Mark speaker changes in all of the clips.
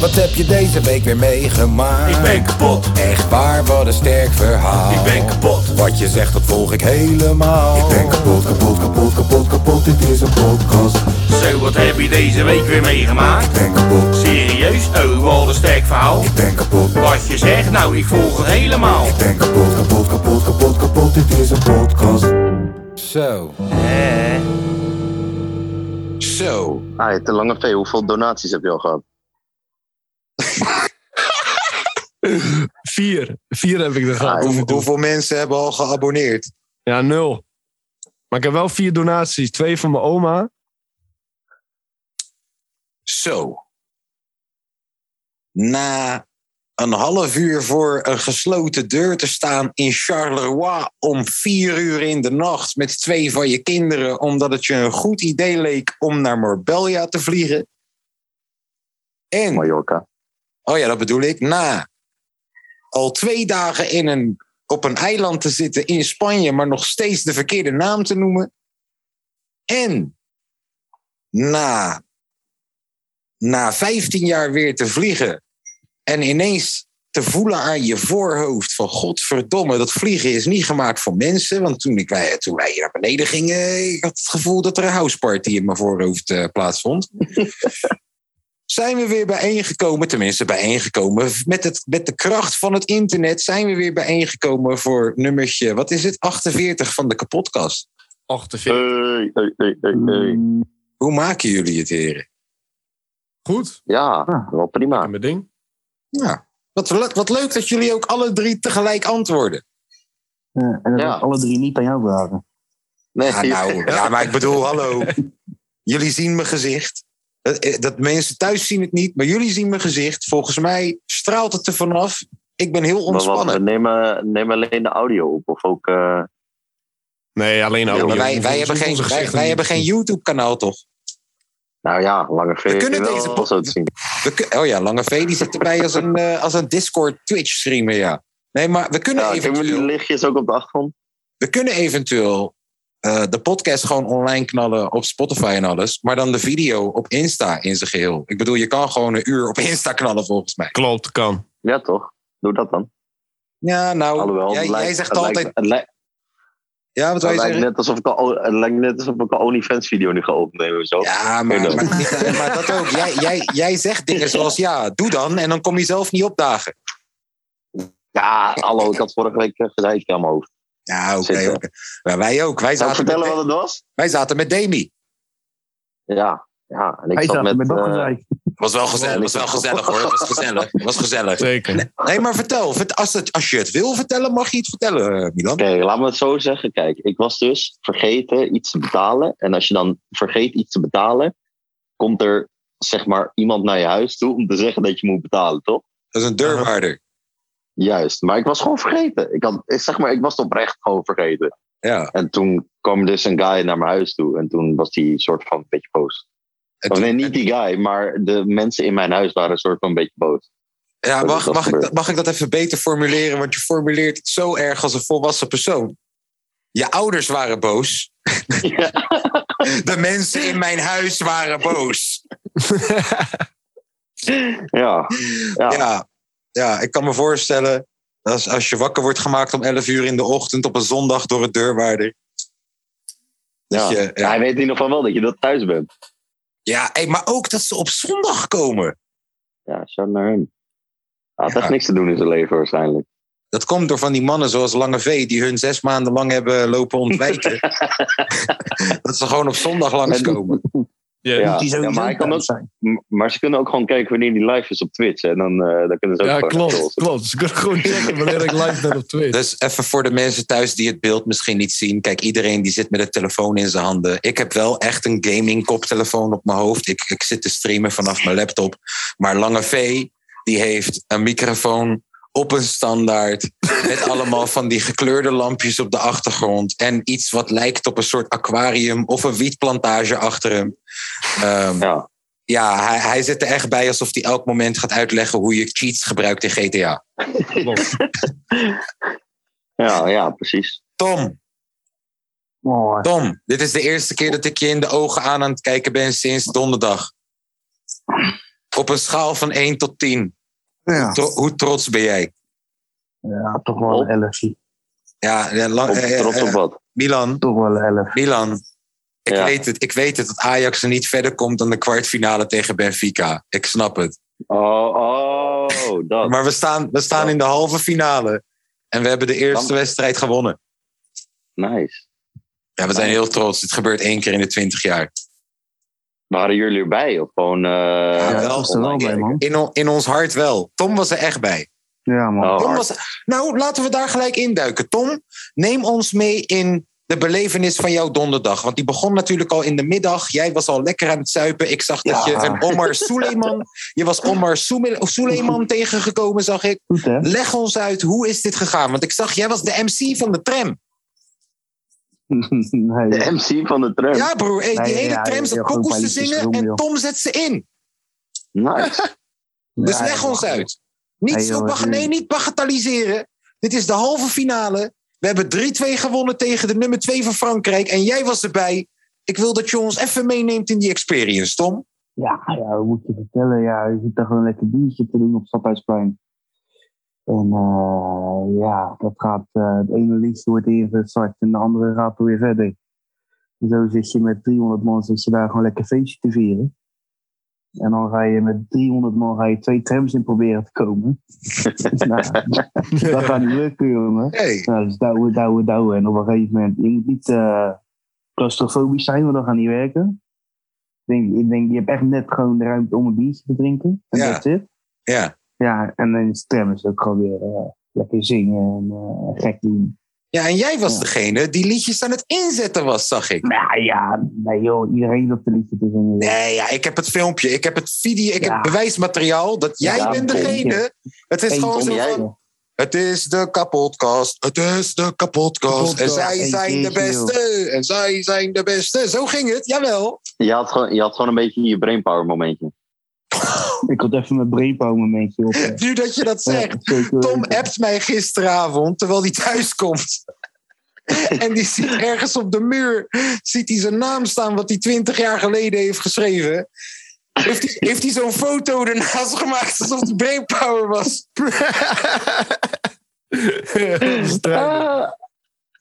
Speaker 1: Wat heb je deze week weer meegemaakt?
Speaker 2: Ik ben kapot.
Speaker 1: Echt waar, wat een sterk verhaal.
Speaker 2: Ik ben kapot.
Speaker 1: Wat je zegt, dat volg ik helemaal.
Speaker 3: Ik ben kapot, kapot, kapot, kapot, kapot, dit is een podcast.
Speaker 2: Zo, wat heb je deze week weer meegemaakt?
Speaker 3: Ik ben kapot,
Speaker 2: Serieus? Oh, wat een sterk verhaal.
Speaker 3: ik ben kapot.
Speaker 2: Wat je zegt, nou, ik volg het helemaal.
Speaker 3: Ik ben kapot, kapot, kapot, kapot, kapot, dit is een podcast.
Speaker 1: Zo. Zo.
Speaker 4: Ah, te lange V, hoeveel donaties heb je al gehad?
Speaker 5: Vier. Vier heb ik er gehad.
Speaker 4: Ah,
Speaker 6: Hoe- hoeveel mensen hebben al geabonneerd?
Speaker 5: Ja, nul. Maar ik heb wel vier donaties. Twee van mijn oma.
Speaker 6: Zo. Na een half uur voor een gesloten deur te staan in Charleroi om vier uur in de nacht met twee van je kinderen, omdat het je een goed idee leek om naar Marbella te vliegen. En,
Speaker 4: Mallorca.
Speaker 6: oh ja, dat bedoel ik, na al twee dagen in een, op een eiland te zitten in Spanje, maar nog steeds de verkeerde naam te noemen. En na na 15 jaar weer te vliegen en ineens te voelen aan je voorhoofd van godverdomme, dat vliegen is niet gemaakt voor mensen. Want toen, ik, wij- toen wij hier naar beneden gingen, ik had het gevoel dat er een houseparty in mijn voorhoofd eh, plaatsvond. zijn we weer bijeengekomen, tenminste bijeengekomen, met, het, met de kracht van het internet zijn we weer bijeengekomen voor nummertje, wat is het, 48 van de kapotkast.
Speaker 5: 48.
Speaker 4: Hey, hey, hey, hey,
Speaker 7: Hm.
Speaker 4: hey.
Speaker 6: Hoe maken jullie het, heren?
Speaker 5: Goed.
Speaker 4: Ja,
Speaker 7: Ah.
Speaker 4: wel prima.
Speaker 5: Aan mijn ding.
Speaker 6: Ja. Wat, le- wat leuk dat jullie ook alle drie tegelijk antwoorden.
Speaker 7: Ja, en dat
Speaker 4: Ja.
Speaker 7: was alle drie niet aan jou vragen.
Speaker 4: Nee,
Speaker 6: Ja, nou, ja, maar ik bedoel, hallo. Jullie zien mijn gezicht. Dat, eh, dat mensen thuis zien het niet, maar jullie zien mijn gezicht. Volgens mij straalt het er vanaf. Ik ben heel
Speaker 4: Maar wat, we
Speaker 6: ontspannen.
Speaker 4: nemen, nemen alleen de audio op of ook... eh,
Speaker 5: Nee, alleen
Speaker 4: Ja,
Speaker 5: audio.
Speaker 6: Maar wij,
Speaker 5: Hoeveel-
Speaker 6: wij, hebben,
Speaker 5: hoeveel
Speaker 6: geen, wij,
Speaker 5: gezichten
Speaker 6: wij hebben geen
Speaker 5: niet?
Speaker 6: YouTube-kanaal, toch?
Speaker 4: nou ja, lange V.
Speaker 6: We kunnen
Speaker 4: wel
Speaker 6: deze pod-
Speaker 4: zo te zien.
Speaker 6: We kun- oh ja, Lange V die zit erbij als een, eh, als een Discord-Twitch-streamer, ja. Nee, maar we kunnen
Speaker 4: Ja, kijk maar die
Speaker 6: eventueel...
Speaker 4: lichtjes ook op de achtergrond.
Speaker 6: We kunnen eventueel eh, de podcast gewoon online knallen op Spotify en alles. Maar dan de video op Insta in zijn geheel. Ik bedoel, je kan gewoon een uur op Insta knallen, volgens mij.
Speaker 5: Klopt, kan.
Speaker 4: Ja, toch? Doe dat dan.
Speaker 6: Ja, nou,
Speaker 4: Alhoewel, het
Speaker 6: jij,
Speaker 4: lijkt-
Speaker 6: jij zegt
Speaker 4: het lijkt-
Speaker 6: altijd...
Speaker 4: het lijkt-
Speaker 6: ja, wat wij
Speaker 4: Het lijkt
Speaker 6: zeggen?
Speaker 4: net alsof ik al- het lijkt net alsof ik een OnlyFans-video nu ga opnemen. of Zo.
Speaker 6: Ja, maar,
Speaker 4: Doe
Speaker 6: maar,
Speaker 4: dan.
Speaker 6: maar dat ook. Jij, jij, jij zegt dingen zoals ja, doe dan. En dan kom je zelf niet opdagen.
Speaker 4: Ja, hallo, ik had vorige week eh, gezeik aan mijn hoofd.
Speaker 6: Ja, oké.
Speaker 4: Zeker.
Speaker 6: oké. Maar wij ook. Wij
Speaker 4: Zou ik
Speaker 6: zaten,
Speaker 4: Nou, vertellen wat
Speaker 6: met,
Speaker 4: het was?
Speaker 6: wij zaten met Demi.
Speaker 4: Ja, ja. En ik
Speaker 7: Hij
Speaker 4: zat
Speaker 7: zat
Speaker 4: met,
Speaker 7: met
Speaker 4: eh,
Speaker 7: dat gezeik.
Speaker 6: Was wel gezellig, was wel gezellig hoor. Was gezellig. Was gezellig.
Speaker 5: Zeker.
Speaker 6: Nee, maar vertel. Vert- Als, het, als je het wil vertellen, mag je het vertellen, eh, Milan.
Speaker 4: Oké, laat me het zo zeggen. Kijk, ik was dus vergeten iets te betalen. En als je dan vergeet iets te betalen, komt er zeg maar iemand naar je huis toe om te zeggen dat je moet betalen, toch?
Speaker 6: Dat is een deurwaarder.
Speaker 4: Juist, maar ik was gewoon vergeten. Ik, had, ik, zeg maar, ik was het oprecht gewoon vergeten.
Speaker 6: Ja.
Speaker 4: En toen kwam dus een guy naar mijn huis toe. En toen was die soort van een beetje boos.
Speaker 6: En
Speaker 4: Of
Speaker 6: toen-
Speaker 4: nee, niet die guy, maar de mensen in mijn huis waren een soort van een beetje boos.
Speaker 6: Ja,
Speaker 4: Dat is
Speaker 6: mag,
Speaker 4: wat
Speaker 6: mag, ik,
Speaker 4: gebeurd.
Speaker 6: dat- mag ik dat even beter formuleren? Want je formuleert het zo erg als een volwassen persoon. Je ouders waren boos.
Speaker 4: Ja.
Speaker 6: De mensen in mijn huis waren boos.
Speaker 4: Ja, ja.
Speaker 6: Ja, ja, ik kan me voorstellen. Als, als je wakker wordt gemaakt om 11 uur in de ochtend op een zondag door het deurwaarder. Dat
Speaker 4: Ja.
Speaker 6: Je,
Speaker 4: Ja,
Speaker 6: ja,
Speaker 4: Hij weet in ieder geval wel dat je dat thuis bent.
Speaker 6: ja hey, maar ook dat ze op zondag komen.
Speaker 4: Ja, shout naar hem. Hij had
Speaker 6: Ja.
Speaker 4: echt niks te doen in zijn leven waarschijnlijk.
Speaker 6: Dat komt door van die mannen zoals Lange V, die hun zes maanden lang hebben lopen ontwijken. dat ze gewoon op zondag langskomen.
Speaker 5: Ja,
Speaker 4: Ja,
Speaker 7: Moet die
Speaker 4: ja,
Speaker 7: sowieso
Speaker 4: maar, hij kan
Speaker 7: thuis
Speaker 4: ook,
Speaker 7: zijn.
Speaker 4: m- maar ze kunnen ook gewoon kijken wanneer die live is op Twitch. En dan, eh, dan kunnen ze ook
Speaker 5: Ja,
Speaker 4: gewoon
Speaker 5: klopt.
Speaker 4: even-
Speaker 5: Klopt. Dus ik kan gewoon checken wanneer ik live ben op Twitch.
Speaker 6: Dus even voor de mensen thuis die het beeld misschien niet zien. Kijk, iedereen die zit met een telefoon in zijn handen. Ik heb wel echt een gaming koptelefoon op mijn hoofd. Ik, ik zit te streamen vanaf mijn laptop. Maar Lange V, die heeft een microfoon op een standaard. Met allemaal van die gekleurde lampjes op de achtergrond. En iets wat lijkt op een soort aquarium of een wietplantage achter hem. Ehm,
Speaker 4: Ja.
Speaker 6: ja, hij, hij zit er echt bij alsof hij elk moment gaat uitleggen hoe je cheats gebruikt in GTA.
Speaker 4: Ja, ja, precies.
Speaker 6: Tom,
Speaker 7: Mooi.
Speaker 6: Tom, dit is de eerste keer dat ik je in de ogen aan aan het kijken ben sinds donderdag. Op een schaal van 1 tot 10.
Speaker 7: Ja,
Speaker 6: Tro- hoe trots ben jij?
Speaker 7: ja toch wel
Speaker 4: Op.
Speaker 7: een 11.
Speaker 6: Ja, ja, lang-
Speaker 4: Op,
Speaker 6: eh, eh,
Speaker 4: trots op
Speaker 6: eh,
Speaker 4: wat.
Speaker 6: Milan,
Speaker 7: Toch wel een 11.
Speaker 6: Milan. Ik,
Speaker 4: Ja.
Speaker 6: weet het, ik weet het dat Ajax er niet verder komt dan de kwartfinale tegen Benfica. Ik snap het.
Speaker 4: Oh, oh, dat.
Speaker 6: Maar we staan, we staan in de halve finale. En we hebben de eerste
Speaker 4: Dan-
Speaker 6: wedstrijd gewonnen.
Speaker 4: Nice.
Speaker 6: Ja, we zijn heel trots. Dit gebeurt één keer in de twintig jaar.
Speaker 4: Waren jullie erbij? Of gewoon... eh,
Speaker 7: Ja,
Speaker 6: wel,
Speaker 7: ik was er wel
Speaker 4: online?
Speaker 7: bij, man.
Speaker 6: In, on- in ons hart wel. Tom was er echt bij.
Speaker 7: Ja, man.
Speaker 4: Oh,
Speaker 6: Tom
Speaker 4: hard.
Speaker 6: was, nou, laten we daar gelijk induiken. Tom, neem ons mee in de belevenis van jouw donderdag. Want die begon natuurlijk al in de middag. Jij was al lekker aan het zuipen. Ik zag dat
Speaker 7: Ja.
Speaker 6: je een Omar Suleiman... Je was Omar Soeme- Suleiman tegengekomen, zag ik.
Speaker 7: Goed, hè?
Speaker 6: Leg ons uit, hoe is dit gegaan? Want ik zag, jij was de MC van de tram.
Speaker 7: nee.
Speaker 4: De MC van de tram.
Speaker 6: Ja, broer. hey, die
Speaker 7: Nee,
Speaker 6: hele
Speaker 7: ja,
Speaker 6: tram
Speaker 7: heel
Speaker 6: zat
Speaker 7: goed,
Speaker 6: kokkoes
Speaker 7: maar
Speaker 6: te
Speaker 7: iets is
Speaker 6: zingen
Speaker 7: erom,
Speaker 6: en
Speaker 7: joh.
Speaker 6: Tom zet ze in.
Speaker 4: Nice.
Speaker 6: Dus
Speaker 7: Ja,
Speaker 6: leg
Speaker 7: ja,
Speaker 6: ons
Speaker 7: man.
Speaker 6: uit. Niet
Speaker 7: Nee,
Speaker 6: zo
Speaker 7: joh,
Speaker 6: bag-
Speaker 7: het is-
Speaker 6: nee, niet bagatelliseren. Dit is de halve finale. We hebben 3-2 gewonnen tegen de nummer 2 van Frankrijk. En jij was erbij. Ik wil dat je ons even meeneemt in die experience, Tom.
Speaker 7: Ja, ja, we moeten vertellen. Ja, je zit daar gewoon lekker biertje te doen op Stadhuisplein. En eh, ja, dat gaat. eh het ene liedje wordt ingestart en de andere gaat er weer verder. En zo zit je met 300 man, zit je daar gewoon lekker feestje te vieren. En dan ga je met 300 man ga je twee trams in proberen te komen. nou, dat gaat niet lukken, jongen.
Speaker 6: Hey.
Speaker 7: Nou, dus douwen, douwen, douwen. En op een gegeven moment, je moet niet eh claustrofobisch zijn, want dan gaat niet werken. Ik denk, ik denk, je hebt echt net gewoon de ruimte om een biertje te drinken. En
Speaker 6: Ja.
Speaker 7: dat zit.
Speaker 6: Ja.
Speaker 7: Ja, en dan is tram is ook gewoon weer eh, lekker zingen en eh, gek doen.
Speaker 6: ja, en jij was
Speaker 7: Ja.
Speaker 6: degene die liedjes aan het inzetten was, zag ik.
Speaker 7: Nou ja, nee joh, iedereen loopt een liedje te zingen. joh.
Speaker 6: Nee, ja, ik heb het filmpje. Ik heb het video. Ik
Speaker 7: Ja.
Speaker 6: heb bewijsmateriaal dat jij
Speaker 4: Ja,
Speaker 6: bent
Speaker 4: Tom,
Speaker 6: degene. Het is
Speaker 7: Eén
Speaker 6: gewoon
Speaker 4: Tom,
Speaker 6: zo
Speaker 4: jij-
Speaker 6: van... Het is de kapotkast. Het is de kapotkast. En zij
Speaker 7: Eén
Speaker 6: zijn de
Speaker 7: keertje,
Speaker 6: beste. En zij zijn de beste. Zo ging het, jawel.
Speaker 4: Je had, gewoon, je had gewoon een beetje je brainpower momentje.
Speaker 7: Ik had even mijn brainpower momentje op. eh.
Speaker 6: Nu dat je dat zegt.
Speaker 7: Ja, zeker
Speaker 6: Tom
Speaker 7: weten.
Speaker 6: appt mij gisteravond terwijl hij thuis komt. en die ziet ergens op de muur ziet hij zijn naam staan, wat hij twintig jaar geleden heeft geschreven. Heeft hij, heeft hij zo'n foto ernaast gemaakt alsof het brainpower was?
Speaker 4: Eh.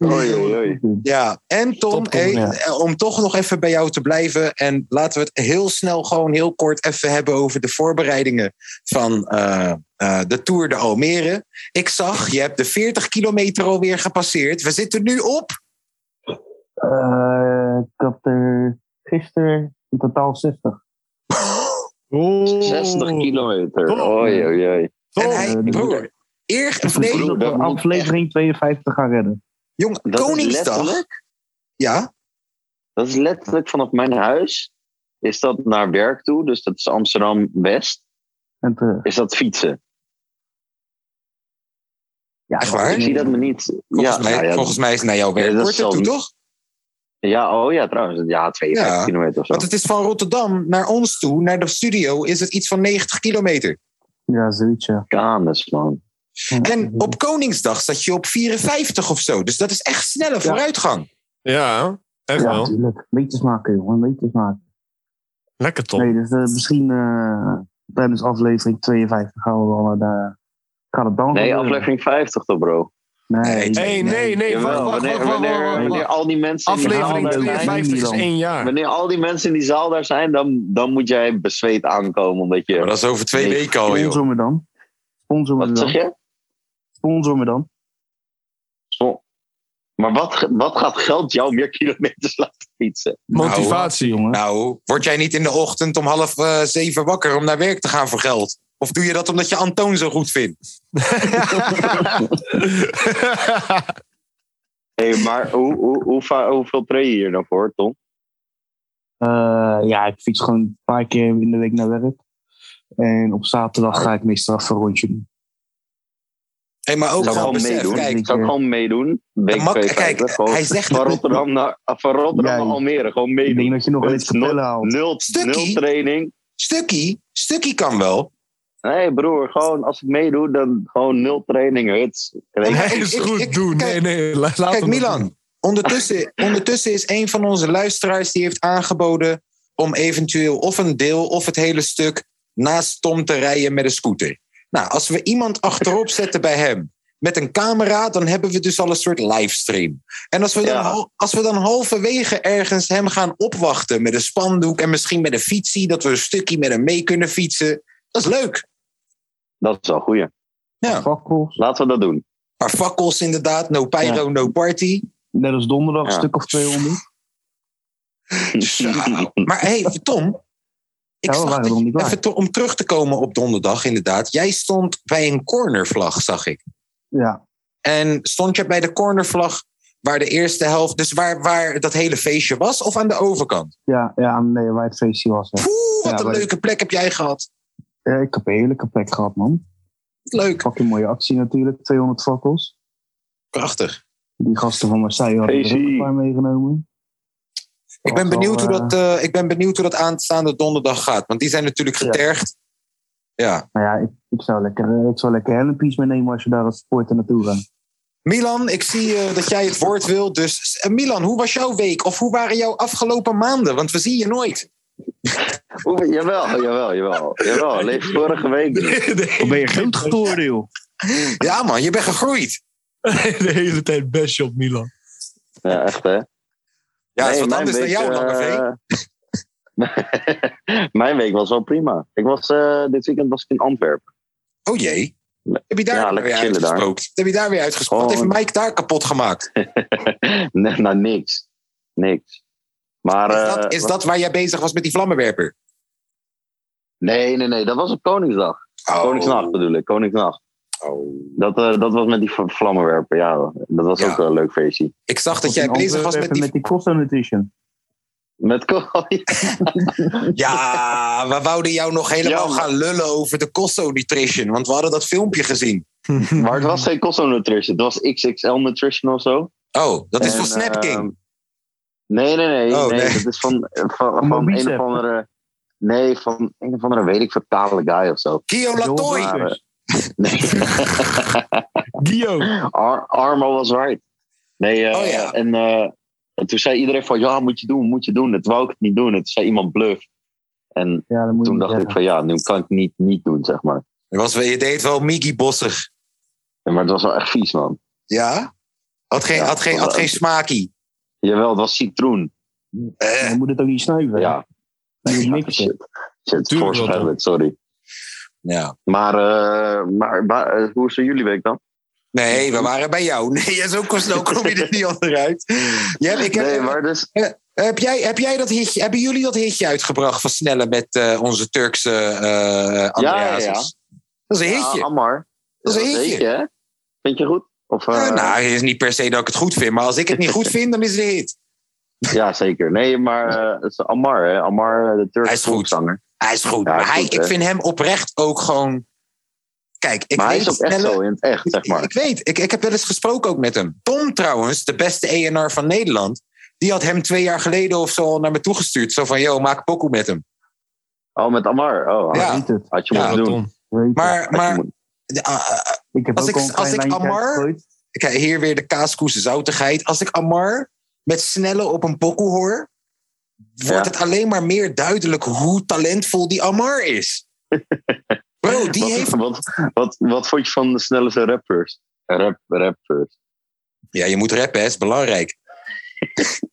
Speaker 4: Oei, oei, oei.
Speaker 6: Ja, en Tom,
Speaker 5: Top, Tom,
Speaker 6: hey,
Speaker 7: ja.
Speaker 6: eh, om toch nog even bij jou te blijven. En laten we het heel snel, gewoon heel kort even hebben over de voorbereidingen van eh, eh, de Tour de Almere. Ik zag, je hebt de 40 kilometer alweer gepasseerd. We zitten nu op.
Speaker 7: Eh, ik had er gisteren in totaal 60.
Speaker 5: Oh.
Speaker 4: 60 kilometer.
Speaker 5: Tom.
Speaker 4: Oei, oei, oei.
Speaker 5: Tom,
Speaker 6: en hij,
Speaker 7: eh,
Speaker 6: broer, eer, of
Speaker 7: Ik
Speaker 6: nee,
Speaker 7: bedoel,
Speaker 4: dat
Speaker 7: dat
Speaker 4: moet
Speaker 7: we aflevering 52 gaan redden.
Speaker 6: jongen,
Speaker 4: Dat is
Speaker 6: Koningsdag.
Speaker 4: letterlijk-
Speaker 6: Ja,
Speaker 4: Dat is letterlijk vanaf mijn huis. Is dat naar werk toe, dus dat is Amsterdam West.
Speaker 7: En eh, terug.
Speaker 4: Is dat fietsen?
Speaker 7: Ja,
Speaker 6: Echt waar?
Speaker 4: Ik zie dat me niet.
Speaker 6: volgens,
Speaker 4: ja,
Speaker 6: mij,
Speaker 4: nou ja,
Speaker 6: volgens mij is het naar jouw werk
Speaker 4: Ja, dat is
Speaker 6: korter toe,
Speaker 4: zelfs-
Speaker 6: toch?
Speaker 4: ja, oh ja, trouwens. Ja, 52
Speaker 6: Ja.
Speaker 4: kilometer of zo.
Speaker 6: Want het is van Rotterdam naar ons toe, naar de studio, is het iets van 90 kilometer.
Speaker 7: Ja, zoiets, ja.
Speaker 4: Kanes, man. Mhm.
Speaker 6: En op Koningsdag zat je op 54 of zo. Dus dat is echt snelle vooruitgang.
Speaker 5: Ja, echt
Speaker 7: Ja,
Speaker 5: wel.
Speaker 7: natuurlijk. Meters maken, jongen. Meters maken.
Speaker 5: Lekker Tom.
Speaker 7: Nee, dus eh, misschien eh, tijdens aflevering 52 gaan we wel eh, naar de... Gaat het dan
Speaker 4: Nee,
Speaker 6: Oh.
Speaker 7: gebeuren?
Speaker 4: aflevering 50 toch, bro?
Speaker 7: Nee,
Speaker 6: Nee,
Speaker 5: hey, nee, nee, wacht,
Speaker 4: Jawel,
Speaker 5: wacht,
Speaker 4: wanneer,
Speaker 5: wacht, wacht,
Speaker 4: wanneer,
Speaker 5: wacht, wacht,
Speaker 4: wanneer
Speaker 5: wacht.
Speaker 4: al die mensen in die zaal
Speaker 5: Aflevering
Speaker 4: daar zijn,
Speaker 5: 52 is
Speaker 7: Milan.
Speaker 5: één
Speaker 6: Nou,
Speaker 5: jaar.
Speaker 4: Wanneer al die mensen in die zaal daar zijn, dan, dan moet jij bezweet aankomen. Omdat je,
Speaker 6: dat is over twee
Speaker 4: Nee.
Speaker 6: weken al,
Speaker 7: sponsor me dan. Sponsor me
Speaker 4: Oh, wat zeg
Speaker 7: dan.
Speaker 4: je?
Speaker 7: Sponsor me dan.
Speaker 4: Zo. Maar wat, wat gaat geld jou meer kilometers laten fietsen?
Speaker 5: Motivatie.
Speaker 7: Jongen.
Speaker 6: Nou, word jij niet in de ochtend om half eh, zeven wakker om naar werk te gaan voor geld? Of doe je dat omdat je Antoon zo goed vindt?
Speaker 4: Hey, maar hoe, hoe, hoe, va- hoeveel train je hier nou voor, Tom?
Speaker 7: Eh, ja, ik fiets gewoon een paar keer in de week naar werk. En op zaterdag ga ik meestal even een rondje doen.
Speaker 6: Hé, maar ook
Speaker 4: Zou ik
Speaker 6: gewoon
Speaker 4: gewoon
Speaker 6: besef,
Speaker 4: meedoen?
Speaker 6: kijk.
Speaker 4: Zou ik gewoon meedoen? Week
Speaker 6: mak-
Speaker 4: 52,
Speaker 6: kijk,
Speaker 4: gewoon
Speaker 6: hij zegt
Speaker 4: van
Speaker 6: het-
Speaker 4: Rotterdam naar, van Rotterdam
Speaker 7: Ja,
Speaker 4: naar Almere, gewoon
Speaker 7: Ik denk
Speaker 4: meedoen.
Speaker 7: dat je nog
Speaker 4: Het
Speaker 7: wel iets
Speaker 4: is nooit-
Speaker 7: vertellen haalt.
Speaker 4: Nul,
Speaker 6: Stukkie.
Speaker 4: nul training.
Speaker 6: Stukkie, stukkie kan wel.
Speaker 4: Nee, broer, gewoon als ik meedoe, dan gewoon nul training, huts. Weet je?
Speaker 5: Nee, is
Speaker 6: Ik- ik- ik-
Speaker 5: goed, doen. Nee,
Speaker 6: kijk-
Speaker 5: nee, la- laat hem
Speaker 6: Kijk,
Speaker 5: dat doen.
Speaker 6: Milan, ondertussen, ondertussen is een van onze luisteraars die heeft aangeboden om eventueel of een deel of het hele stuk naast Tom te rijden met een scooter. Nou, als we iemand achterop zetten bij hem met een camera, dan hebben we dus al een soort livestream. En als we dan,
Speaker 4: Ja.
Speaker 6: hal- als we dan halverwege ergens hem gaan opwachten met een spandoek en misschien met een fietsie, dat we een stukje met hem mee kunnen fietsen, dat is leuk.
Speaker 4: Dat is wel een goeie.
Speaker 6: Ja.
Speaker 7: Fakkels.
Speaker 4: Laten we dat doen.
Speaker 6: Maar fakkels inderdaad, no pyro, no party.
Speaker 7: Net als donderdag,
Speaker 4: Ja.
Speaker 7: een stuk of 200.
Speaker 6: Zo. Maar hé, hey, Tom. Ik
Speaker 7: Ja, we
Speaker 6: zag
Speaker 7: waren
Speaker 6: dat
Speaker 7: nog
Speaker 6: je-
Speaker 7: niet klaar.
Speaker 6: even to- om terug te komen op donderdag, inderdaad. Jij stond bij een cornervlag, zag ik.
Speaker 7: Ja,
Speaker 6: En stond je bij de cornervlag waar de eerste helft, dus waar, waar dat hele feestje was, of aan de overkant?
Speaker 7: ja, ja, nee, waar het feestje was. hè.
Speaker 6: Poeh, wat
Speaker 7: Ja,
Speaker 6: een
Speaker 7: bij-
Speaker 6: leuke plek heb jij gehad.
Speaker 7: Ja, ik heb een heerlijke plek gehad, man.
Speaker 6: Leuk.
Speaker 7: Fucking mooie actie natuurlijk, 200 fakkels.
Speaker 6: Prachtig.
Speaker 7: Die gasten van Marseille hadden er ook
Speaker 4: Feestie.
Speaker 7: een paar meegenomen.
Speaker 6: Ik ben,
Speaker 7: Was wel,
Speaker 6: benieuwd hoe
Speaker 7: eh,
Speaker 6: dat, eh, ik ben benieuwd hoe dat aanstaande donderdag gaat, want die zijn natuurlijk
Speaker 7: Ja.
Speaker 6: getergd. Ja.
Speaker 7: Maar ja, ik, ik zou lekker, eh, ik zou lekker helmpies meenemen als je daar als supporter naartoe gaat.
Speaker 6: Milan, ik zie eh, dat jij het woord wil. Dus eh, Milan, hoe was jouw week? Of hoe waren jouw afgelopen maanden? Want we zien je nooit.
Speaker 4: Oeh, jawel, jawel, jawel. Jawel, alleen vorige week.
Speaker 7: Dan ben je groot geworden, joh.
Speaker 6: Ja, man, je bent gegroeid.
Speaker 8: de hele tijd bestje op Milan.
Speaker 4: Ja, echt hè.
Speaker 6: Ja, dat is
Speaker 4: Nee, mijn
Speaker 6: wat
Speaker 4: eh,
Speaker 6: anders dan
Speaker 4: week,
Speaker 6: jou, Lange V.
Speaker 4: eh, mijn week was wel prima. Ik was, eh, dit weekend was ik in Antwerpen.
Speaker 6: Oh jee. Heb je daar
Speaker 4: Ja,
Speaker 6: weer
Speaker 4: lekker chillen daar.
Speaker 6: uitgesproken? Wat Heb je daar weer uitgesproken? Wat
Speaker 4: Oh.
Speaker 6: heeft Mike daar kapot gemaakt?
Speaker 4: nee, nou, niks. Niks. Maar,
Speaker 6: Is
Speaker 4: eh,
Speaker 6: dat, is dat waar jij bezig was met die vlammenwerper?
Speaker 4: Nee, nee, nee. Dat was op Koningsdag.
Speaker 6: Oh.
Speaker 4: Koningsnacht bedoel ik. Koningsnacht. Dat, eh, dat was met die v- vlammenwerper, ja. Dat was
Speaker 6: Ja.
Speaker 4: ook wel een leuk feestje.
Speaker 6: Ik zag dat jij
Speaker 7: In
Speaker 6: bezig was
Speaker 7: Antwerpen
Speaker 6: met die...
Speaker 7: met die Costa Nutrition.
Speaker 4: Met ko-
Speaker 6: Ja, we wouden jou nog helemaal
Speaker 4: Ja, maar-
Speaker 6: gaan lullen over de Costo Nutrition. Want we hadden dat filmpje gezien.
Speaker 4: Maar het was geen Costo Nutrition. Het was XXL Nutrition of zo.
Speaker 6: Oh, dat is
Speaker 4: En,
Speaker 6: van Snap King.
Speaker 4: ehm, nee, nee, nee.
Speaker 6: Oh,
Speaker 4: nee,
Speaker 6: nee.
Speaker 4: Dat is van, eh, van,
Speaker 7: Van
Speaker 4: van een
Speaker 7: Bicep.
Speaker 4: of andere... Nee, van een of andere, weet ik veel, kale guy of zo.
Speaker 6: Kio Latoy.
Speaker 4: Maar, eh, nee,
Speaker 8: Gio.
Speaker 4: Ar Armo was right. Nee, eh,
Speaker 6: Oh, ja.
Speaker 4: en, eh, en toen zei iedereen van, ja, moet je doen, moet je doen. Dat wou ik het niet doen. En toen zei iemand bluff. En
Speaker 7: eh, Ja, dat moet je
Speaker 4: toen
Speaker 7: niet
Speaker 4: dacht ik
Speaker 7: zeggen.
Speaker 4: van, ja, nu kan ik het niet, niet doen, zeg maar.
Speaker 6: Je was wel- je deed wel Miggy Bossig.
Speaker 4: Ja, maar het was wel echt vies, man.
Speaker 6: Ja? Had geen,
Speaker 4: Ja,
Speaker 6: had geen, had
Speaker 4: wel-
Speaker 6: geen smaakie.
Speaker 4: Jawel, het was citroen.
Speaker 6: Eh,
Speaker 7: Je moet het ook niet snuiven. hè?
Speaker 4: Ja.
Speaker 7: Je moet
Speaker 4: Ja,
Speaker 7: mixen.
Speaker 4: shit. Shit,
Speaker 8: Tuurlijk wel,
Speaker 4: voorspellen, sorry.
Speaker 6: ja.
Speaker 4: Maar, eh, maar, maar, eh, hoe is er jullie week dan?
Speaker 6: Nee, we waren bij jou. Nee, zo, kom- zo kom je er niet onderuit. Je hebt- ik heb,
Speaker 4: Nee, maar dus...
Speaker 6: heb, jij, heb jij dat hitje, hebben jullie dat hitje uitgebracht van Snelle met eh, onze Turkse eh Andreas?
Speaker 4: ja, ja.
Speaker 6: Dat is een hitje.
Speaker 4: Ja, Ah, Ammar. Eh,
Speaker 6: Dat is een hitje.
Speaker 4: hè? Vind je goed? Of, eh,
Speaker 6: Eh, nou, het is niet per se dat ik het goed vind, maar als ik het niet goed vind, dan is het een hit.
Speaker 4: Ja, zeker. Nee, maar eh, het is Ammar, hè? Ammar, eh, de
Speaker 6: Hij
Speaker 4: Turkse
Speaker 6: is goed.
Speaker 4: volkszanger.
Speaker 6: Hij is goed.
Speaker 4: Ja,
Speaker 6: maar hij,
Speaker 4: goed,
Speaker 6: ik
Speaker 4: hè?
Speaker 6: vind hem oprecht ook gewoon. Kijk, ik
Speaker 4: Maar hij
Speaker 6: weet
Speaker 4: is ook echt
Speaker 6: Snelle-
Speaker 4: zo, in het echt, zeg maar.
Speaker 6: Ik weet, ik, ik heb wel eens gesproken ook met hem. Tom trouwens, de beste ENR van Nederland, die had hem twee jaar geleden of zo al naar me toegestuurd. Zo van, yo, maak pokoe met hem.
Speaker 4: Oh, met Ammar. Oh,
Speaker 6: Ja.
Speaker 7: Weet het.
Speaker 4: had je
Speaker 6: Ja,
Speaker 4: moeten doen.
Speaker 8: Tom.
Speaker 7: Weet het.
Speaker 6: Maar,
Speaker 4: Had je
Speaker 6: maar
Speaker 4: moeten-
Speaker 6: ah, ah,
Speaker 7: ik heb
Speaker 6: als
Speaker 7: ook
Speaker 6: ik-
Speaker 7: al een
Speaker 6: als
Speaker 7: klein
Speaker 6: ik
Speaker 7: lijntje
Speaker 6: Amar-
Speaker 7: uitgegooid.
Speaker 6: kijk, hier weer de kaaskoes zoutigheid. Als ik Amar met snelle op een pokoe hoor, wordt
Speaker 4: Ja.
Speaker 6: het alleen maar meer duidelijk hoe talentvol die Amar is. Bro, die
Speaker 4: wat,
Speaker 6: heeft...
Speaker 4: wat, wat, wat vond je van de snelle rappers? Rap, rappers.
Speaker 6: Ja, je moet rappen, hè, is belangrijk.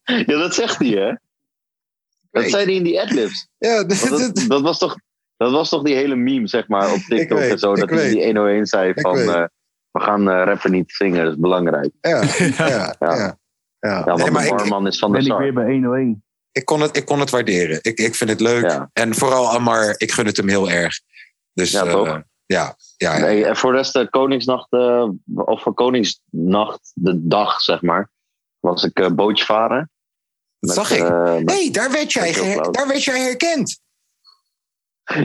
Speaker 4: Ja, dat zegt hij, hè? Dat
Speaker 6: weet.
Speaker 4: zei hij in die adlibs.
Speaker 6: Ja,
Speaker 4: Want Dat, dat, was toch, dat was toch die hele meme, zeg maar, op TikTok
Speaker 6: weet,
Speaker 4: en zo.
Speaker 6: ik
Speaker 4: Dat hij
Speaker 6: weet.
Speaker 4: die 101 zei
Speaker 6: Ik
Speaker 4: van...
Speaker 6: weet.
Speaker 4: eh, we gaan eh, rappen niet zingen, dat is belangrijk.
Speaker 6: ja, ja,
Speaker 4: Ja. Ja, want
Speaker 6: Nee, maar
Speaker 4: de
Speaker 6: ik-
Speaker 4: barman is van de
Speaker 7: Ben ik
Speaker 4: Sar.
Speaker 7: weer bij 101.
Speaker 6: ik kon het, ik kon het waarderen. Ik, ik vind het leuk.
Speaker 4: Ja.
Speaker 6: En vooral Amar, ik gun het hem heel erg. Dus
Speaker 4: Ja,
Speaker 6: eh,
Speaker 4: toch?
Speaker 6: ja, ja, ja.
Speaker 4: Nee, en voor de rest, eh, Koningsnacht, eh, of voor Koningsnacht, de dag, zeg maar, was ik eh, bootje varen.
Speaker 6: dat
Speaker 4: Met,
Speaker 6: zag ik.
Speaker 4: eh, met-
Speaker 6: Nee, daar werd, jij
Speaker 4: met heel
Speaker 6: geher-
Speaker 4: blauw.
Speaker 6: daar werd jij herkend.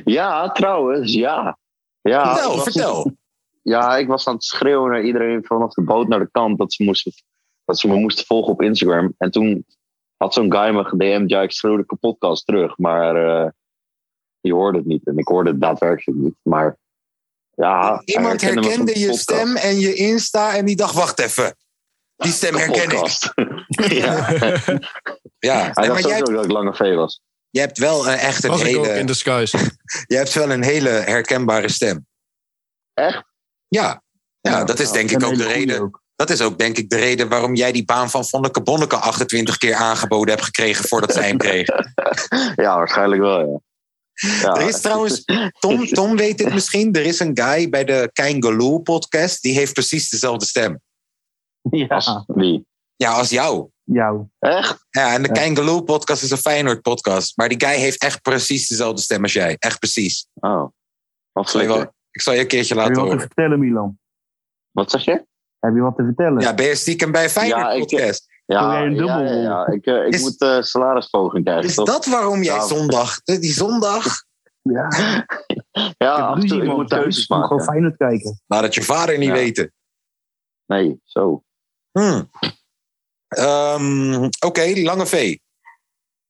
Speaker 4: Ja, trouwens, ja. ja ik
Speaker 6: vertel,
Speaker 4: was-
Speaker 6: vertel.
Speaker 4: Ja, ik was aan het schreeuwen naar iedereen vanaf de boot naar de kant dat ze, moesten, dat ze me moesten volgen op Instagram. En toen had zo'n guy me gedm'd, ja, ik schreeuwde kapotkast terug, maar eh, die hoorde het niet. En ik hoorde het daadwerkelijk niet, maar ja. hij
Speaker 6: Iemand
Speaker 4: Ah, herkende me van
Speaker 6: herkende
Speaker 4: de
Speaker 6: je
Speaker 4: podcast.
Speaker 6: stem en je Insta en die dacht, wacht even. Die stem herken ik.
Speaker 4: Podcast. ja.
Speaker 6: Ja,
Speaker 4: Hij
Speaker 6: maar
Speaker 4: dacht
Speaker 6: jij,
Speaker 4: sowieso dat ik Lange V was.
Speaker 6: Je hebt wel een, echt een
Speaker 5: Was ik ook
Speaker 6: hele...
Speaker 5: in de skies.
Speaker 6: Je hebt wel een hele herkenbare stem.
Speaker 4: Echt?
Speaker 6: Ja. Ja, dat is denk ik ook de reden. Dat is ook denk ik de reden waarom jij die baan van Vonneke Bonneke 28 keer aangeboden hebt gekregen voordat zij hem kreeg.
Speaker 4: Ja, waarschijnlijk wel, ja. ja.
Speaker 6: Er is trouwens, Tom, Tom weet dit misschien, er is een guy bij de Kein Geloel podcast, die heeft precies dezelfde stem.
Speaker 7: Ja,
Speaker 4: Wie?
Speaker 6: Ja, als jou.
Speaker 7: jou.
Speaker 4: Echt?
Speaker 6: Ja, en de
Speaker 7: Ja.
Speaker 6: Kein Geloel podcast is een Feyenoord podcast, maar die guy heeft echt precies dezelfde stem als jij. Echt precies.
Speaker 4: Oh. Wat,
Speaker 6: Ik zal je,
Speaker 4: flikker.
Speaker 6: wel- ik zal je een keertje
Speaker 7: Heb je
Speaker 6: laten
Speaker 7: wat te
Speaker 6: horen.
Speaker 7: vertellen, Milan?
Speaker 4: wat zeg je?
Speaker 7: Heb je wat te vertellen?
Speaker 6: Ja, ben je stiekem bij een Feyenoord
Speaker 4: Ja, ik-
Speaker 6: podcast?
Speaker 7: Doe jij een dubbel?
Speaker 4: Ja, ja, ja. Ik, eh, ik
Speaker 6: Is-
Speaker 4: moet eh salarisverhoging krijgen.
Speaker 6: Is
Speaker 4: toch?
Speaker 6: dat waarom jij
Speaker 4: Ja.
Speaker 6: zondag, eh, die zondag,
Speaker 7: Ja.
Speaker 4: Ja,
Speaker 7: Ik heb
Speaker 4: af en
Speaker 7: ruzie,
Speaker 4: toe, Ah, ik
Speaker 7: man,
Speaker 4: moet
Speaker 7: thuis.
Speaker 4: keuzes
Speaker 7: Ik moet Gewoon
Speaker 4: maken.
Speaker 7: Feyenoord kijken.
Speaker 6: laat het je vader niet
Speaker 4: Ja.
Speaker 6: weten.
Speaker 4: Nee, zo.
Speaker 6: Hm. Ehm, Oké, Lange V.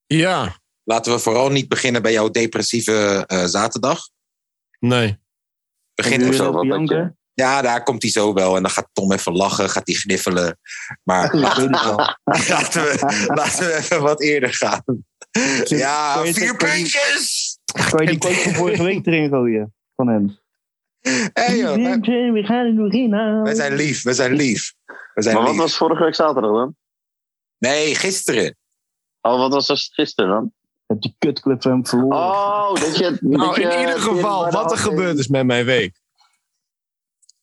Speaker 5: Ja,
Speaker 6: Laten we vooral niet beginnen bij jouw depressieve eh, zaterdag.
Speaker 5: nee.
Speaker 6: Begin
Speaker 7: En nu
Speaker 6: er
Speaker 4: of
Speaker 6: zo.
Speaker 4: zo,
Speaker 7: weer
Speaker 4: wat
Speaker 7: op
Speaker 4: denk je?
Speaker 7: janken.
Speaker 6: Ja, daar komt hij zo wel. En dan gaat Tom even lachen, gaat hij gniffelen. Maar
Speaker 7: Ik weet het wel.
Speaker 6: laten, we, laten we even wat eerder gaan. Ja,
Speaker 7: Kan je-
Speaker 6: vier
Speaker 7: kan je-
Speaker 6: puntjes!
Speaker 7: Kan je die quote van vorige week erin gooien? Van hem.
Speaker 6: Hey, joh, wij,
Speaker 7: we gaan er nog in halen.
Speaker 6: wij zijn lief, we zijn lief. We zijn
Speaker 4: Maar wat
Speaker 6: lief.
Speaker 4: was vorige week zaterdag dan?
Speaker 6: Nee, gisteren.
Speaker 4: Oh, wat was dat gisteren dan?
Speaker 7: Heb die kutclub van hem verloren.
Speaker 4: Oh, dat je... dat
Speaker 5: Nou,
Speaker 4: je-
Speaker 5: in ieder geval, wat er
Speaker 4: eh,
Speaker 5: gebeurd is met mijn week.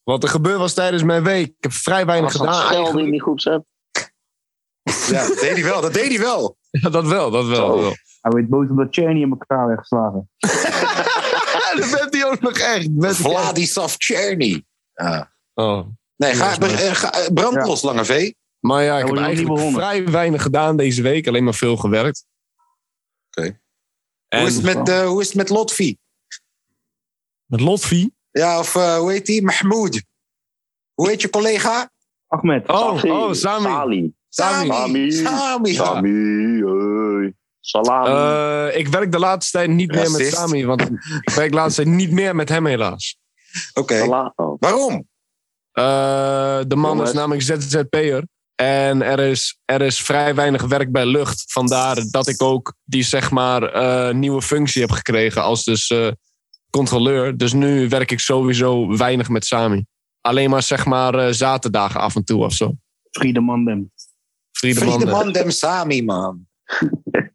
Speaker 5: Wat er gebeurd was tijdens mijn week. Ik heb vrij weinig
Speaker 4: Was dat
Speaker 5: gedaan.
Speaker 4: schelden
Speaker 5: eigenlijk.
Speaker 4: in die groepsapp?
Speaker 6: Ja, dat deed hij wel, dat deed hij wel.
Speaker 5: Ja, dat wel, dat wel.
Speaker 4: Zo.
Speaker 5: dat wel.
Speaker 7: Hij werd boos omdat Cherny in elkaar werd geslagen.
Speaker 5: Ja, dat bent hij ook nog echt. Met
Speaker 6: Vladislav Cherny.
Speaker 5: Oh.
Speaker 6: Nee, ga,
Speaker 5: Ja,
Speaker 6: eh, ga, eh, brand
Speaker 7: Ja.
Speaker 6: los, Lange V.
Speaker 5: Maar ja, ik heb
Speaker 7: word je nog niet
Speaker 5: eigenlijk
Speaker 7: begonnen.
Speaker 5: vrij weinig gedaan deze week. Alleen maar veel gewerkt.
Speaker 6: Oké.
Speaker 5: En
Speaker 6: Hoe is, het met, eh, hoe is het met Lotfi?
Speaker 5: met Lotfi?
Speaker 6: Ja, of eh, hoe heet die? Mahmoud. Hoe heet je collega?
Speaker 7: Ahmed.
Speaker 5: Oh, oh, Sami.
Speaker 4: Sami.
Speaker 5: Sami.
Speaker 6: Sami. Sami. ja.
Speaker 4: Sami. hey. Salami.
Speaker 5: Eh, ik werk de laatste tijd niet meer met
Speaker 6: Racist.
Speaker 5: Sami. Want ik werk de laatste tijd niet meer met hem helaas.
Speaker 6: Oké.
Speaker 4: Sala- oh.
Speaker 6: Waarom?
Speaker 5: Eh, de man
Speaker 4: Jongens.
Speaker 5: is namelijk ZZP'er. En er is, er is vrij weinig werk bij lucht. Vandaar dat ik ook die zeg maar eh, nieuwe functie heb gekregen als dus eh, controleur. Dus nu werk ik sowieso weinig met Sami. Alleen maar zeg maar eh, zaterdagen af en toe of zo.
Speaker 7: Friede Mandem.
Speaker 5: Friedeman.
Speaker 6: Friedeman dem Sami, man.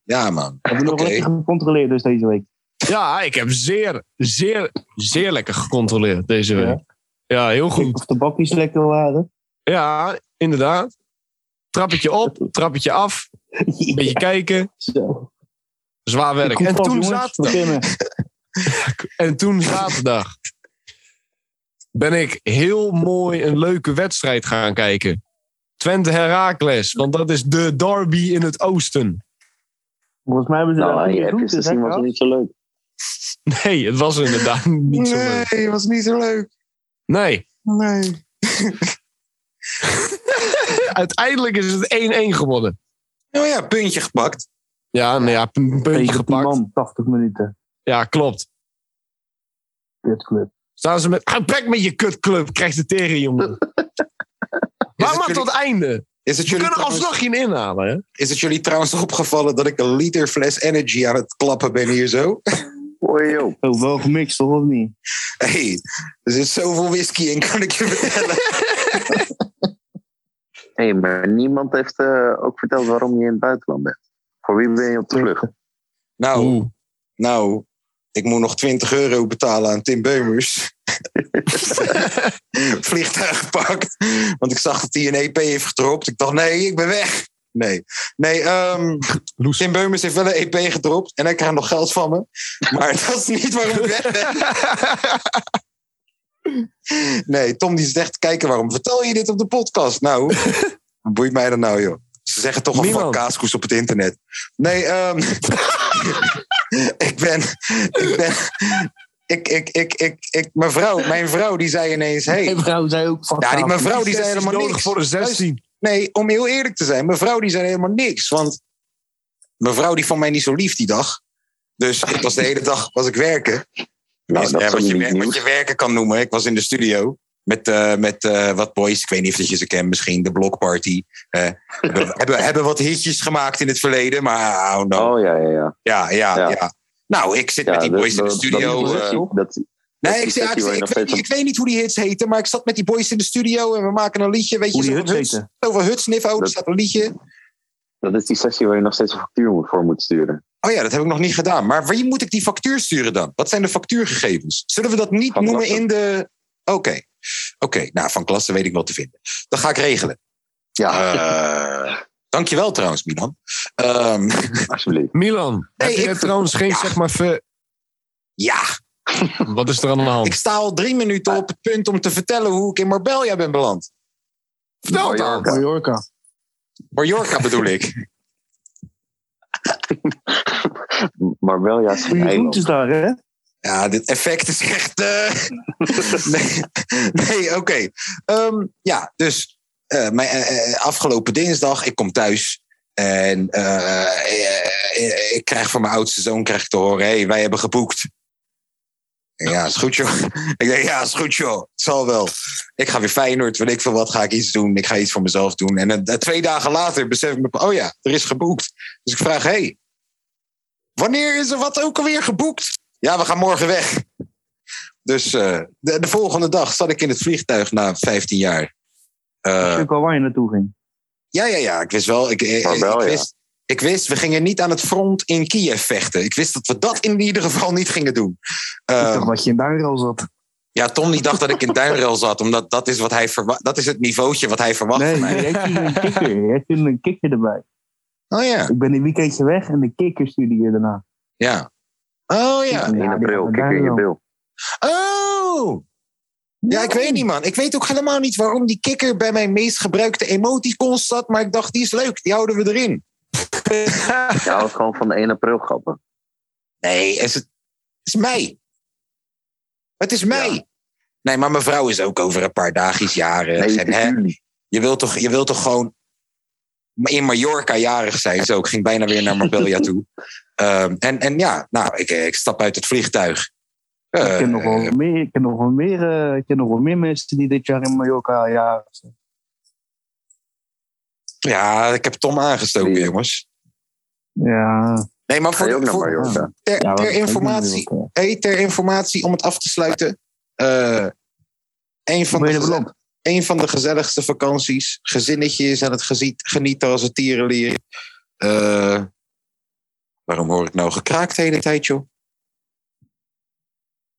Speaker 6: Ja, man.
Speaker 7: Hebben we nog
Speaker 6: Oké.
Speaker 7: lekker gecontroleerd dus deze week?
Speaker 5: Ja, ik heb zeer, zeer, zeer lekker gecontroleerd deze week. Ja, heel
Speaker 7: Goed.
Speaker 5: goed.
Speaker 7: Of de bakjes lekker waren.
Speaker 5: Ja, inderdaad. Trappetje op, trappetje af. Een beetje kijken.
Speaker 7: Zo.
Speaker 5: Zwaar werk. En
Speaker 7: Koepel,
Speaker 5: toen
Speaker 7: jongens,
Speaker 5: zaterdag.
Speaker 7: beginnen.
Speaker 5: En toen zaterdag ben ik heel mooi een leuke wedstrijd gaan kijken. Twente Herakles, want dat is de derby in het oosten.
Speaker 7: Volgens mij hebben ze
Speaker 4: Nou,
Speaker 7: daar
Speaker 4: je
Speaker 7: goede
Speaker 4: hebt
Speaker 7: routes,
Speaker 4: gezien
Speaker 7: hè,
Speaker 4: was
Speaker 7: Kras?
Speaker 4: niet zo leuk.
Speaker 5: Nee, het was inderdaad niet zo leuk.
Speaker 6: Nee, was niet zo leuk.
Speaker 5: Nee,
Speaker 6: Nee.
Speaker 5: uiteindelijk is het 1-1 geworden.
Speaker 6: Nou ja, puntje gepakt.
Speaker 5: Ja, nou ja, een puntje
Speaker 7: Tegen die
Speaker 5: gepakt.
Speaker 7: man, 80 minuten.
Speaker 5: Ja, klopt.
Speaker 7: Kutclub.
Speaker 5: Staan ze met... Ga weg met je kutclub, krijgt de tering, jongen. Waar maar
Speaker 6: jullie-
Speaker 5: tot einde.
Speaker 6: Is het,
Speaker 5: We
Speaker 6: jullie
Speaker 5: kunnen
Speaker 6: trouwens,
Speaker 5: alsnog geen inhalen, hè?
Speaker 6: is het jullie trouwens opgevallen dat ik een liter fles energy aan het klappen ben hier zo?
Speaker 4: Oei, joh.
Speaker 7: Oh, wel gemixt, toch, of niet?
Speaker 6: hey, er zit zoveel whisky in, kan ik je vertellen.
Speaker 4: Hé, maar niemand heeft eh, ook verteld waarom je in het buitenland bent. Voor wie ben je op de vlucht?
Speaker 6: Nou,
Speaker 5: Oeh.
Speaker 6: Nou, ik moet nog 20 euro betalen aan Tim Beumers. Vliegtuig gepakt. Want ik zag dat hij een EP heeft gedropt. Ik dacht, nee, ik ben weg. Nee, nee ehm,
Speaker 5: Loes.
Speaker 6: Tim Beumers heeft wel een EP gedropt. En hij krijgt nog geld van me. Maar dat is niet waarom ik weg ben. Nee, Tom die zegt, kijken waarom vertel je dit op de podcast? Nou, boeit mij dan nou, joh. Ze zeggen toch al van
Speaker 5: Niemand.
Speaker 6: kaaskoes op het internet. Nee, ehm, ik ben... Ik ben ik, ik, ik, ik, ik, mijn vrouw, mijn vrouw die zei ineens... Hey,
Speaker 7: Mijn vrouw zei ook van...
Speaker 6: ja, die, mijn vrouw die zei
Speaker 5: Zes nou, is
Speaker 6: helemaal
Speaker 5: nodig
Speaker 6: niks.
Speaker 5: voor een 16.
Speaker 6: Nee, om heel eerlijk te zijn, mijn vrouw die zei helemaal niks. Want mijn vrouw die vond mij niet zo lief die dag. Dus ik was de hele dag was ik werken.
Speaker 4: Nou,
Speaker 6: Is-
Speaker 4: dat
Speaker 6: ja,
Speaker 4: is
Speaker 6: wat,
Speaker 4: ook
Speaker 6: je,
Speaker 4: niet
Speaker 6: wer- wat
Speaker 4: nieuws.
Speaker 6: je werken kan noemen. Ik was in de studio. Met, eh, met eh, wat boys, ik weet niet of je ze kent misschien, de Block Party. eh, hebben, hebben, hebben wat hitjes gemaakt in het verleden, maar oh no.
Speaker 4: Oh ja, ja, ja.
Speaker 6: Ja, ja, ja.
Speaker 4: Ja.
Speaker 6: Nou, ik zit
Speaker 4: ja
Speaker 6: met die
Speaker 4: dat-
Speaker 6: boys in de
Speaker 4: dat-
Speaker 6: studio.
Speaker 4: Dat,
Speaker 6: eh,
Speaker 4: dat, dat,
Speaker 6: Nee, ik,
Speaker 4: die sessie
Speaker 6: zei- ik,
Speaker 4: waar je
Speaker 6: ik,
Speaker 4: nog
Speaker 6: weet,
Speaker 4: steeds
Speaker 6: ik weet niet hoe die hits heten, maar ik zat met die boys in de studio en we maken een liedje. Weet je,
Speaker 7: Hoe die
Speaker 6: zo
Speaker 7: huts
Speaker 6: over huts,
Speaker 7: heten?
Speaker 6: over hutsniveau, er
Speaker 4: Dat-
Speaker 6: staat een liedje.
Speaker 4: dat is die sessie waar je nog steeds een factuur moet- voor moet sturen.
Speaker 6: Oh ja, dat heb ik nog niet gedaan. Maar wie moet ik die factuur sturen dan? Wat zijn de factuurgegevens? Zullen we dat niet
Speaker 4: Van
Speaker 6: noemen
Speaker 4: Klassen.
Speaker 6: in de. Oké. Oké, nou, van klasse weet ik wel te vinden. Dat ga ik regelen.
Speaker 4: Ja,
Speaker 6: Eh, dankjewel trouwens, Milan. Ehm,
Speaker 4: alsjeblieft.
Speaker 5: Milan,
Speaker 6: Nee,
Speaker 5: heb je
Speaker 6: ik-
Speaker 5: trouwens geen,
Speaker 6: ja.
Speaker 5: zeg maar... ver-
Speaker 6: ja,
Speaker 5: Wat is er aan de hand?
Speaker 6: ik sta al drie minuten op het punt om te vertellen hoe ik in Marbella ben beland.
Speaker 5: Vertel het dan.
Speaker 7: Mallorca.
Speaker 6: Mallorca bedoel ik.
Speaker 4: Maar wel, ja, het is een
Speaker 7: Goeie
Speaker 4: eiland.
Speaker 7: groentjes daar, hè?
Speaker 6: Ja, dit effect is echt. eh, nee, nee, oké. Ehm, ja, dus eh, mijn, eh, eh, afgelopen dinsdag, ik kom thuis. En eh, eh, ik krijg van mijn oudste zoon krijg ik te horen: hé, hey, wij hebben geboekt. Ik denk, Ja, is goed joh. Ik denk, ja, is goed joh. Het zal wel. Ik ga weer Feyenoord, weet ik veel wat, ga ik iets doen. Ik ga iets voor mezelf doen. En eh, twee dagen later besef ik me, oh ja, er is geboekt. Dus ik vraag, hé, hey, wanneer is er wat ook alweer geboekt? Ja, we gaan morgen weg. Dus eh, de, de volgende dag zat ik in het vliegtuig na 15 jaar. Eh,
Speaker 7: Wist je ook al waar je naartoe ging.
Speaker 6: ja, ja, ja. Ik wist wel. Ik, eh,
Speaker 4: Maar wel,
Speaker 6: ik,
Speaker 4: ja.
Speaker 6: wist, ik wist, we gingen niet aan het front in Kiev vechten. Ik wist dat we dat in ieder geval niet gingen doen.
Speaker 7: ik
Speaker 6: Eh,
Speaker 7: dacht dat je in Duinrel zat.
Speaker 6: ja, Tom die dacht dat ik in Duinrail zat, omdat dat is, wat hij verwa- dat is het niveautje wat hij verwacht
Speaker 7: Nee,
Speaker 6: van mij.
Speaker 7: jij stuurde een kikker. Jij stuurde een kikker erbij.
Speaker 6: Oh ja,
Speaker 7: Ik ben een weekendje weg en de kikker stuurde je daarna.
Speaker 6: ja. Oh ja.
Speaker 7: Ja,
Speaker 4: In
Speaker 7: die
Speaker 4: april,
Speaker 7: gaan
Speaker 4: kijk in je
Speaker 7: Duinrel.
Speaker 4: bil.
Speaker 6: Oh! Ja, ik weet niet, man. Ik weet ook helemaal niet waarom die kikker bij mijn meest gebruikte emoticon zat. Maar ik dacht, die is leuk. Die houden we erin.
Speaker 4: Je houdt gewoon van de 1 april grappen.
Speaker 6: Nee, is het, het is mei. Het is mei.
Speaker 4: Ja.
Speaker 6: Nee, maar mijn vrouw is ook over een paar dagjes jarig.
Speaker 4: Nee,
Speaker 6: en, hè, je, wilt toch, je wilt toch gewoon in Mallorca jarig zijn? Zo, ik ging bijna weer naar Marbella toe. Ehm, en, en ja, nou, ik, ik stap uit het vliegtuig.
Speaker 7: Ik
Speaker 6: Eh,
Speaker 7: ken nog wel meer, ik ken nog wel meer, eh, ik ken nog wel meer mensen die dit jaar in Mallorca jarig zijn.
Speaker 6: ja, ik heb Tom aangestoken,
Speaker 4: Die-
Speaker 6: jongens.
Speaker 7: Ja,
Speaker 6: Nee, maar
Speaker 4: Ga
Speaker 6: voor,
Speaker 4: je ook naar
Speaker 6: voor-
Speaker 4: Mallorca?
Speaker 6: ter,
Speaker 7: ja,
Speaker 6: ter
Speaker 7: wat-
Speaker 6: informatie, hey, ter informatie, om het af te sluiten. eh, een van
Speaker 7: Ben je
Speaker 6: de
Speaker 7: er beland?
Speaker 6: een van de gezelligste vakanties. Gezinnetje is aan het geziet, genieten als het tierenlier. Eh, waarom hoor ik nou gekraakt de hele tijd, joh?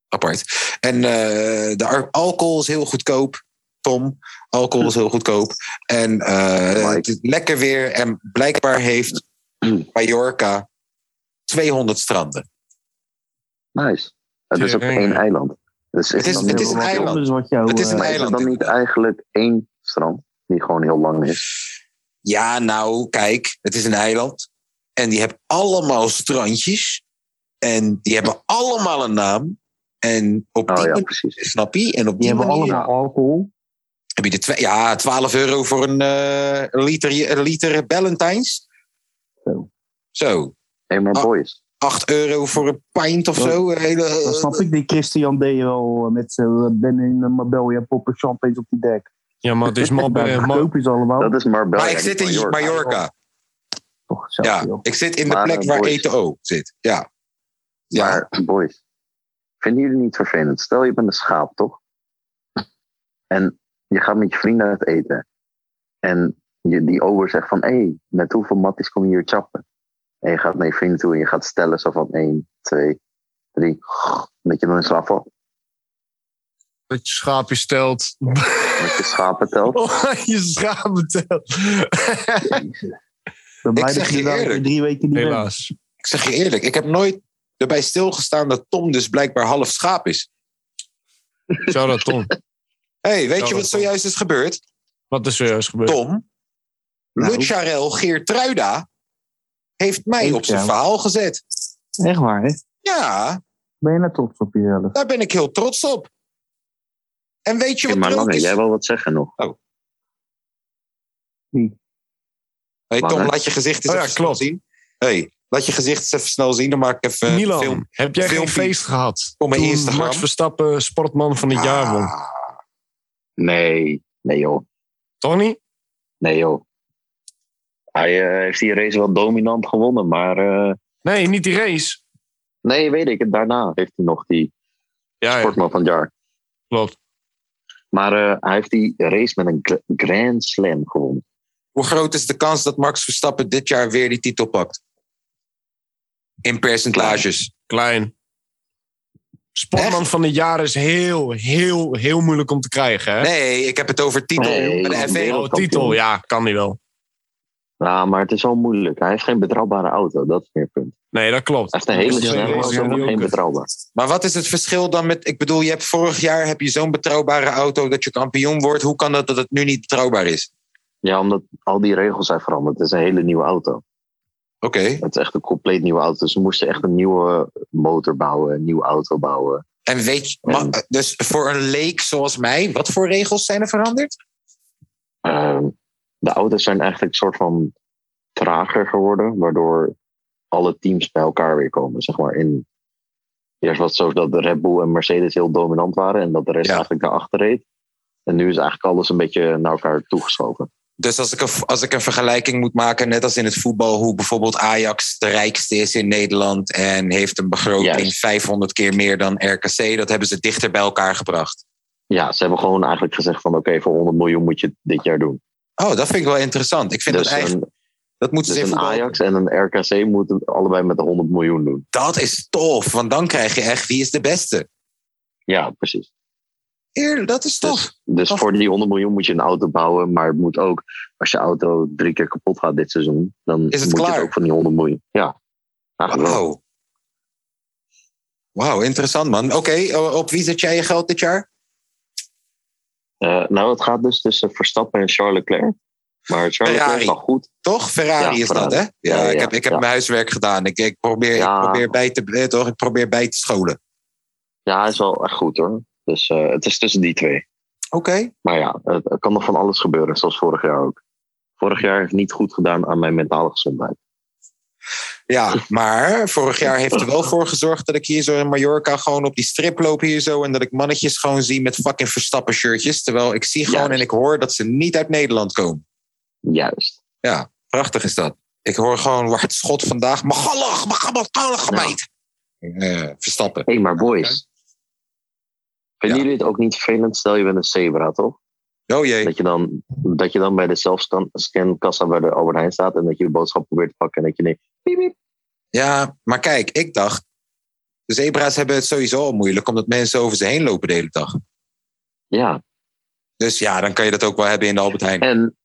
Speaker 6: Apart. En eh, de ar- alcohol is heel goedkoop, Tom. Alcohol is heel goedkoop. En eh, het is lekker weer. En blijkbaar heeft Mallorca 200 stranden.
Speaker 4: Nice. Het is op
Speaker 5: Tering.
Speaker 4: één eiland. Dus
Speaker 6: Het is-
Speaker 4: dan
Speaker 6: het
Speaker 4: niet-
Speaker 6: is een
Speaker 7: Wat
Speaker 6: eiland.
Speaker 7: anders Wat jou,
Speaker 6: Het is een
Speaker 7: eh,
Speaker 4: Maar is het
Speaker 6: eiland.
Speaker 4: dan niet eigenlijk één strand die gewoon heel lang is?
Speaker 6: Ja, nou, kijk, het is een eiland. En die hebben allemaal strandjes. En die hebben allemaal een naam. En op die
Speaker 4: Oh ja,
Speaker 6: manier,
Speaker 4: precies.
Speaker 6: snap je? En op
Speaker 7: die
Speaker 6: die
Speaker 7: hebben
Speaker 6: manier
Speaker 7: allemaal alcohol.
Speaker 6: heb je de twee, ja, 12 euro voor een, eh, een liter, een liter Ballantines.
Speaker 7: Zo.
Speaker 6: Zo.
Speaker 4: Hey, maar
Speaker 6: Ah.
Speaker 4: boys.
Speaker 6: 8 euro voor een pint of
Speaker 7: Dat-
Speaker 6: zo. Een hele, eh,
Speaker 7: Dan snap ik die Christian D. wel eh, met zijn ben in een Marbella poppen champagne op die dek.
Speaker 5: Ja, maar het is eh,
Speaker 7: Daar
Speaker 5: Marbella.
Speaker 7: goedkoop is allemaal.
Speaker 4: Dat is Marbella.
Speaker 6: maar ik
Speaker 4: niet Oh,
Speaker 6: zit in Mallorca.
Speaker 7: toch zo,
Speaker 6: Ja,
Speaker 7: joh.
Speaker 6: ik zit in de
Speaker 4: Maar,
Speaker 6: plek
Speaker 4: eh,
Speaker 6: waar
Speaker 4: boys.
Speaker 6: ETO zit. Ja. Ja.
Speaker 4: Maar boys, vinden jullie niet vervelend? Stel je bent een schaap, toch? En je gaat met je vrienden uit eten. En je, die ober zegt van, hé, hey, met hoeveel matties kom je hier chappen? En je gaat naar je vrienden toe en je gaat stellen zo van 1, 2, 3. Dat je dan in slaap valt.
Speaker 5: Dat je schaapje stelt.
Speaker 4: Dat je schapen telt.
Speaker 5: Oh, je schapen telt.
Speaker 7: Ik ben blij
Speaker 6: Ik
Speaker 7: dat
Speaker 6: zeg
Speaker 7: je
Speaker 6: je
Speaker 7: daar
Speaker 6: eerlijk.
Speaker 7: drie weken niet bent.
Speaker 5: Helaas.
Speaker 6: Ik zeg je eerlijk, ik heb nooit erbij stilgestaan dat Tom dus blijkbaar half schaap is.
Speaker 5: Zou dat, Tom?
Speaker 6: Hé, hey, weet
Speaker 5: Oh,
Speaker 6: je wat
Speaker 5: dat-
Speaker 6: zojuist is gebeurd?
Speaker 5: Wat is er juist gebeurd?
Speaker 6: Tom,
Speaker 7: Nou.
Speaker 6: Lucharel Geertruida heeft mij
Speaker 7: Heeft
Speaker 6: op zijn
Speaker 7: jou.
Speaker 6: verhaal gezet.
Speaker 7: Echt waar, hè?
Speaker 6: Ja,
Speaker 7: Ben je nou trots op jezelf?
Speaker 6: daar ben ik heel trots op. En weet je
Speaker 4: Hey,
Speaker 6: wat
Speaker 4: maar
Speaker 6: leuk
Speaker 4: Lange,
Speaker 6: is?
Speaker 4: jij wil wat zeggen nog.
Speaker 6: Hey, Tom,
Speaker 4: Lange.
Speaker 6: laat je gezicht eens
Speaker 5: Oh ja,
Speaker 6: even snel
Speaker 5: klopt.
Speaker 6: zien. hey, laat je gezicht eens even snel zien. Dan maak ik even een eh, film.
Speaker 5: Milan, heb jij geen
Speaker 6: filmpje.
Speaker 5: feest gehad?
Speaker 6: Op mijn
Speaker 5: toen
Speaker 6: Instagram.
Speaker 5: Max Verstappen sportman van het jaar won.
Speaker 6: Ah,
Speaker 4: Nee, nee joh.
Speaker 5: Toch niet?
Speaker 4: Nee joh. Hij eh, heeft die race wel dominant gewonnen, maar... eh,
Speaker 5: Nee, niet die race.
Speaker 4: nee, weet ik het. Daarna heeft hij nog die
Speaker 5: Oh Ja, ja,
Speaker 4: sportman van het jaar.
Speaker 5: klopt.
Speaker 4: Maar eh, hij heeft die race met een gr- Grand Slam gewonnen.
Speaker 6: Hoe groot is de kans dat Max Verstappen dit jaar weer die titel pakt? In percentages.
Speaker 5: Klein. Sportman van het jaar is heel, heel, heel moeilijk om te krijgen. Hè?
Speaker 6: Nee, ik heb het over titel.
Speaker 4: Nee,
Speaker 6: Bij de
Speaker 4: nee,
Speaker 6: FA.
Speaker 4: nee.
Speaker 5: oh, titel, ja, kan die wel.
Speaker 4: Nou, maar het is wel moeilijk. Hij heeft geen betrouwbare auto, dat is meer het punt.
Speaker 5: Nee, dat klopt.
Speaker 4: Hij heeft een hele
Speaker 5: Dat is
Speaker 4: snelle
Speaker 5: wel-
Speaker 4: auto, maar geen betrouwbaar.
Speaker 6: Maar wat is het verschil dan met... Ik bedoel, je hebt vorig jaar heb je zo'n betrouwbare auto dat je kampioen wordt. Hoe kan dat dat het nu niet betrouwbaar is?
Speaker 4: Ja, omdat al die regels zijn veranderd. Het is een hele nieuwe auto.
Speaker 6: Oké.
Speaker 4: Het is echt een compleet nieuwe auto. Dus ze moesten echt een nieuwe motor bouwen, een nieuwe auto bouwen.
Speaker 6: En weet je, ma- dus voor een leek zoals mij, wat voor regels zijn er veranderd?
Speaker 4: Ehm, de auto's zijn eigenlijk een soort van trager geworden, waardoor alle teams bij elkaar weer komen. Zeg maar in. Eerst was het zo dat de Red Bull en Mercedes heel dominant waren en dat de rest
Speaker 6: Ja.
Speaker 4: eigenlijk daarachter reed. En nu is eigenlijk alles een beetje naar elkaar toegeschoven.
Speaker 6: Dus als ik, een, als ik een vergelijking moet maken, net als in het voetbal, hoe bijvoorbeeld Ajax de rijkste is in Nederland en heeft een begroting
Speaker 4: Juist.
Speaker 6: 500 keer meer dan RKC, dat hebben ze dichter bij elkaar gebracht.
Speaker 4: Ja, ze hebben gewoon eigenlijk gezegd van oké, voor 100 miljoen moet je het dit jaar doen.
Speaker 6: Oh, dat vind ik wel interessant. Ik vind
Speaker 4: Dus
Speaker 6: dat eigenlijk,
Speaker 4: een,
Speaker 6: dat moeten
Speaker 4: dus
Speaker 6: ze in
Speaker 4: een
Speaker 6: voetbal-
Speaker 4: Ajax en een RKC moeten allebei met de 100 miljoen doen.
Speaker 6: Dat is tof, want dan krijg je echt wie is de beste.
Speaker 4: Ja, precies.
Speaker 6: Eer, dat is tof.
Speaker 4: Dus, dus
Speaker 6: Tof.
Speaker 4: voor die 100 miljoen moet je een auto bouwen. Maar het moet ook, als je auto drie keer kapot gaat dit seizoen, dan
Speaker 6: Is het
Speaker 4: moet je
Speaker 6: klaar?
Speaker 4: het ook van die 100 miljoen. Ja. Nou, Eigenlijk wel.
Speaker 6: Wauw. Wauw, interessant man. Oké, o- op wie zet jij je geld dit jaar?
Speaker 4: Eh, nou, het gaat dus tussen Verstappen en Charles Leclerc. Maar Charles Leclerc
Speaker 6: Ferrari.
Speaker 4: is al goed.
Speaker 6: Toch? Ferrari
Speaker 4: Ja,
Speaker 6: is dat, hè? Ja,
Speaker 4: Ferrari. Ja, ja,
Speaker 6: ik heb, ik heb
Speaker 4: ja.
Speaker 6: mijn huiswerk gedaan. Ik, ik, probeer,
Speaker 4: Ja.
Speaker 6: ik, probeer bij te, eh, toch? ik probeer bij te scholen.
Speaker 4: Ja, hij is wel echt goed hoor. Dus eh, het is tussen die twee.
Speaker 6: Oké.
Speaker 4: Maar ja, het, het kan nog van alles gebeuren, zoals vorig jaar ook. Vorig jaar heeft niet goed gedaan aan mijn mentale gezondheid.
Speaker 6: Ja, maar vorig jaar heeft er wel voor gezorgd dat ik hier zo in Mallorca gewoon op die strip loop hier zo. En dat ik mannetjes gewoon zie met fucking verstappen shirtjes. Terwijl ik zie gewoon
Speaker 4: Juist.
Speaker 6: en ik hoor dat ze niet uit Nederland komen.
Speaker 4: Juist.
Speaker 6: Prachtig is dat. Ik hoor gewoon waar het schot vandaag. Magallig, magallig, magallig,
Speaker 4: Ja.
Speaker 6: meid. Eh, verstappen.
Speaker 4: Hé, hey, maar boys. Vinden
Speaker 6: Ja.
Speaker 4: jullie het ook niet vervelend? Stel je bent een zebra, toch?
Speaker 6: Oh jee.
Speaker 4: Dat je dan, dat je dan bij de zelfscan-kassa bij de Albert Heijn staat en dat je je boodschap probeert te pakken en dat je denkt, piep, piep.
Speaker 6: Ja, maar kijk, ik dacht. De zebra's hebben het sowieso al moeilijk omdat mensen over ze heen lopen de hele dag.
Speaker 4: Ja,
Speaker 6: Dus ja, dan kan je dat ook wel hebben in de Albert Heijn.
Speaker 4: en,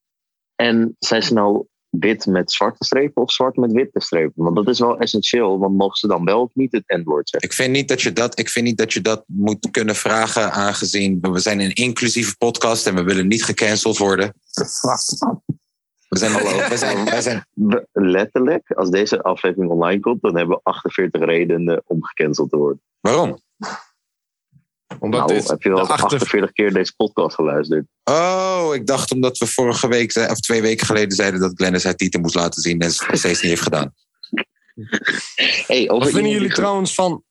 Speaker 4: en zijn ze nou wit met zwarte strepen of zwart met witte strepen? Want dat is wel essentieel, want mogen ze dan wel of niet het N-woord zeggen?
Speaker 6: Ik vind, niet dat je dat, ik vind niet dat je dat moet kunnen vragen, aangezien we we zijn een inclusieve podcast en we willen niet gecanceld worden. We zijn,
Speaker 4: Hallo.
Speaker 6: we zijn, we zijn,
Speaker 4: We- letterlijk, als deze aflevering online komt, dan hebben we 48 redenen om gecanceld te worden.
Speaker 6: waarom?
Speaker 5: Omdat
Speaker 4: nou,
Speaker 5: dit
Speaker 4: heb je
Speaker 5: de
Speaker 4: al
Speaker 5: achter-
Speaker 4: 48 keer deze podcast geluisterd?
Speaker 6: Oh, ik dacht omdat we vorige week, ze- of twee weken geleden, zeiden dat Glennis haar titel moest laten zien en ze het nog steeds niet heeft gedaan.
Speaker 4: Hey, over
Speaker 5: Wat vinden
Speaker 4: iemand
Speaker 5: jullie
Speaker 4: die-
Speaker 5: trouwens van...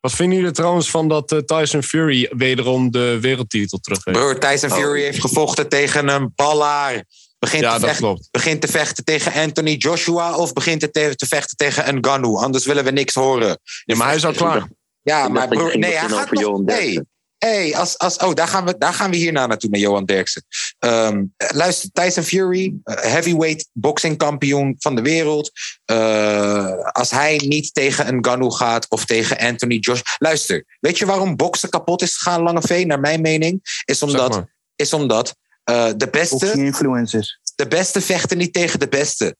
Speaker 5: Wat vinden jullie trouwens van dat eh, Tyson Fury wederom de wereldtitel terug heeft?
Speaker 6: Broer, Tyson Fury
Speaker 4: Oh.
Speaker 6: heeft gevochten tegen een ballaar. Begint,
Speaker 5: Ja,
Speaker 6: te
Speaker 5: dat
Speaker 6: vechten,
Speaker 5: klopt.
Speaker 6: begint te vechten tegen Anthony Joshua of begint te, te vechten tegen een Ganu. Anders willen we niks horen. Dus-
Speaker 5: Ja, maar hij is al klaar.
Speaker 6: Ja,
Speaker 4: Ik dacht
Speaker 6: maar
Speaker 4: dat je
Speaker 6: broer,
Speaker 4: ging
Speaker 6: nee, hij
Speaker 4: beginnen
Speaker 6: gaat
Speaker 4: over
Speaker 6: nog...
Speaker 4: Johan
Speaker 6: Nee,
Speaker 4: Derksen.
Speaker 6: hey, als, als, oh, daar gaan, we, daar gaan we hierna naartoe met Johan Derksen. Ehm, eh, luister, Tyson Fury, eh, heavyweight boxingkampioen van de wereld. Eh, als hij niet tegen een Ganu gaat of tegen Anthony Josh... Luister, weet je waarom boksen kapot is gegaan, Lange V, naar mijn mening? Is
Speaker 5: Zeg
Speaker 6: omdat,
Speaker 5: maar.
Speaker 6: is omdat eh, de beste
Speaker 7: Boxing influencers.
Speaker 6: de beste vechten niet tegen de beste.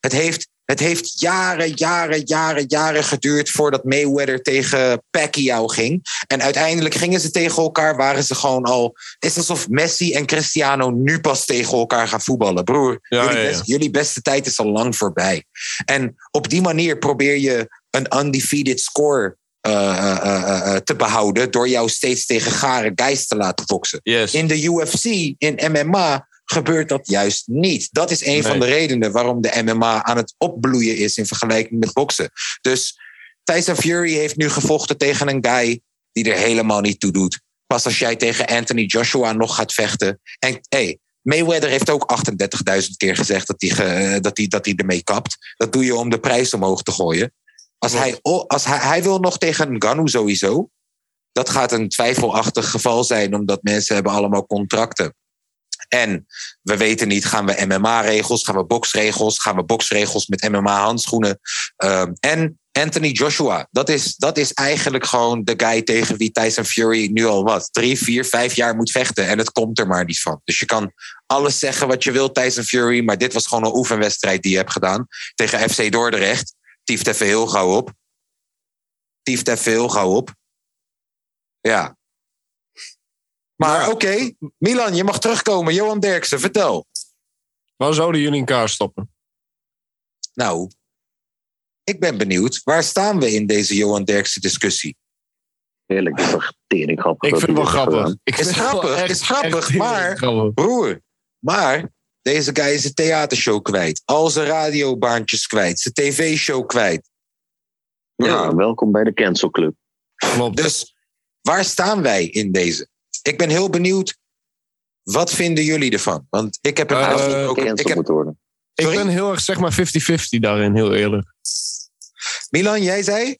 Speaker 6: Het heeft, het heeft jaren, jaren, jaren, jaren geduurd voordat Mayweather tegen Pacquiao ging. En uiteindelijk gingen ze tegen elkaar, waren ze gewoon al... Het is alsof Messi en Cristiano nu pas tegen elkaar gaan voetballen. Broer,
Speaker 5: Ja,
Speaker 6: jullie,
Speaker 5: ja, ja.
Speaker 6: best- jullie beste tijd is al lang voorbij. En op die manier probeer je een undefeated score eh, eh, eh, eh, eh, te behouden... door jou steeds tegen gare guys te laten boksen.
Speaker 5: Yes.
Speaker 6: In de UFC, in MMA, gebeurt dat juist niet. Dat is een
Speaker 5: Nee.
Speaker 6: van de redenen waarom de MMA aan het opbloeien is in vergelijking met boksen. Dus Tyson Fury heeft nu gevochten tegen een guy die er helemaal niet toe doet. Pas als jij tegen Anthony Joshua nog gaat vechten. En hey, Mayweather heeft ook 38.000 keer gezegd dat hij, ge- dat, hij, dat hij ermee kapt. Dat doe je om de prijs omhoog te gooien. Als hij, o- als hij, hij wil nog tegen Ngannou sowieso. Dat gaat een twijfelachtig geval zijn, omdat mensen hebben allemaal contracten. En we weten niet, gaan we MMA-regels, gaan we boksregels, gaan we boksregels met MMA-handschoenen. Ehm, en Anthony Joshua, dat is, dat is eigenlijk gewoon de guy tegen wie Tyson Fury nu al wat, drie, vier, vijf jaar moet vechten. En het komt er maar niet van. Dus je kan alles zeggen wat je wil, Tyson Fury, maar dit was gewoon een oefenwedstrijd die je hebt gedaan tegen FC Dordrecht. Tieft even heel gauw op. Tieft even heel gauw op. Ja. Maar oké, Milan, je mag terugkomen. Johan Derksen, vertel.
Speaker 5: Waar zouden jullie elkaar stoppen?
Speaker 6: Nou, ik ben benieuwd. Waar staan we in deze Johan Derksen discussie?
Speaker 4: Heerlijk, dit is toch tering grappig.
Speaker 5: Ik
Speaker 4: dat
Speaker 5: vind het
Speaker 4: we
Speaker 5: wel
Speaker 4: dit
Speaker 5: grappig.
Speaker 4: gedaan.
Speaker 5: Ik
Speaker 6: Is
Speaker 5: vind het wel
Speaker 6: grappig,
Speaker 5: echt-
Speaker 6: is grappig,
Speaker 5: echt heel
Speaker 6: maar-
Speaker 5: grappig.
Speaker 6: Broer, maar deze guy is zijn theatershow kwijt. Al zijn radiobaantjes kwijt. Zijn tv-show kwijt.
Speaker 4: Ja, welkom bij de Cancel Club.
Speaker 5: Klopt.
Speaker 6: Dus waar staan wij in deze? Ik ben heel benieuwd. Wat vinden jullie ervan? Want ik heb een
Speaker 5: Eh,
Speaker 6: aantal- ook-
Speaker 4: Cancel
Speaker 6: ik heb,
Speaker 4: moet worden.
Speaker 5: ik
Speaker 6: sorry?
Speaker 5: ben heel erg zeg maar 50-50 daarin, heel eerlijk.
Speaker 6: Milan, jij zei?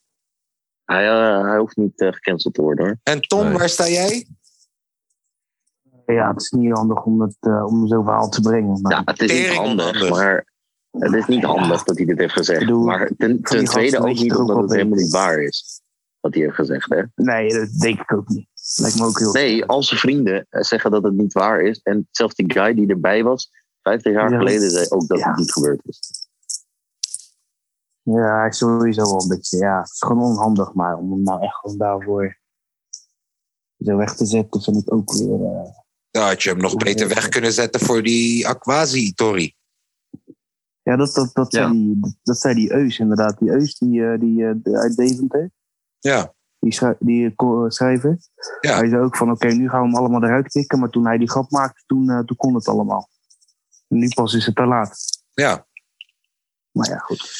Speaker 4: Hij, eh, hij hoeft niet eh, gecanceld te worden hoor.
Speaker 6: En Tom,
Speaker 5: Nee.
Speaker 6: waar sta jij?
Speaker 7: Ja, het is niet handig om, het, eh, om zo'n verhaal te brengen. Maar
Speaker 4: Ja, het is niet
Speaker 6: Tering
Speaker 4: handig,
Speaker 6: onhandig.
Speaker 4: maar het is niet handig dat hij dit heeft gezegd.
Speaker 7: Ik bedoel,
Speaker 4: maar ten, ten tweede
Speaker 7: die gasten
Speaker 4: ook
Speaker 7: weet je
Speaker 4: niet
Speaker 7: toch ook
Speaker 4: omdat
Speaker 7: wel
Speaker 4: het helemaal
Speaker 7: beter.
Speaker 4: niet waar is. Wat hij heeft gezegd, hè?
Speaker 7: Nee, dat denk ik ook niet. Lijkt me ook heel...
Speaker 4: Nee, al zijn vrienden eh, zeggen dat het niet waar is. En zelfs die guy die erbij was, 50 jaar
Speaker 7: Ja.
Speaker 4: geleden, zei ook dat
Speaker 7: Ja.
Speaker 4: het niet gebeurd is.
Speaker 7: Ja, hij is sowieso wel een beetje... Ja, het is gewoon onhandig, maar om hem nou echt gewoon daarvoor zo weg te zetten, vind ik ook weer... eh,
Speaker 6: Dan had je hem nog beter weg kunnen zetten voor die Aquasi-Tori.
Speaker 7: Ja, dat, dat, dat,
Speaker 4: Ja.
Speaker 7: Zei die, dat zei die Eus inderdaad. Die Eus die, eh, die, eh, de- uit Deventer,
Speaker 6: Ja,
Speaker 7: die, schrij- die eh, ko- eh, schrijver.
Speaker 6: Ja.
Speaker 7: Hij zei ook van oké, nu gaan we hem allemaal eruit tikken. Maar toen hij die grap maakte, toen, eh, toen kon het allemaal. En nu pas is het te laat.
Speaker 6: ja.
Speaker 7: Maar ja, goed.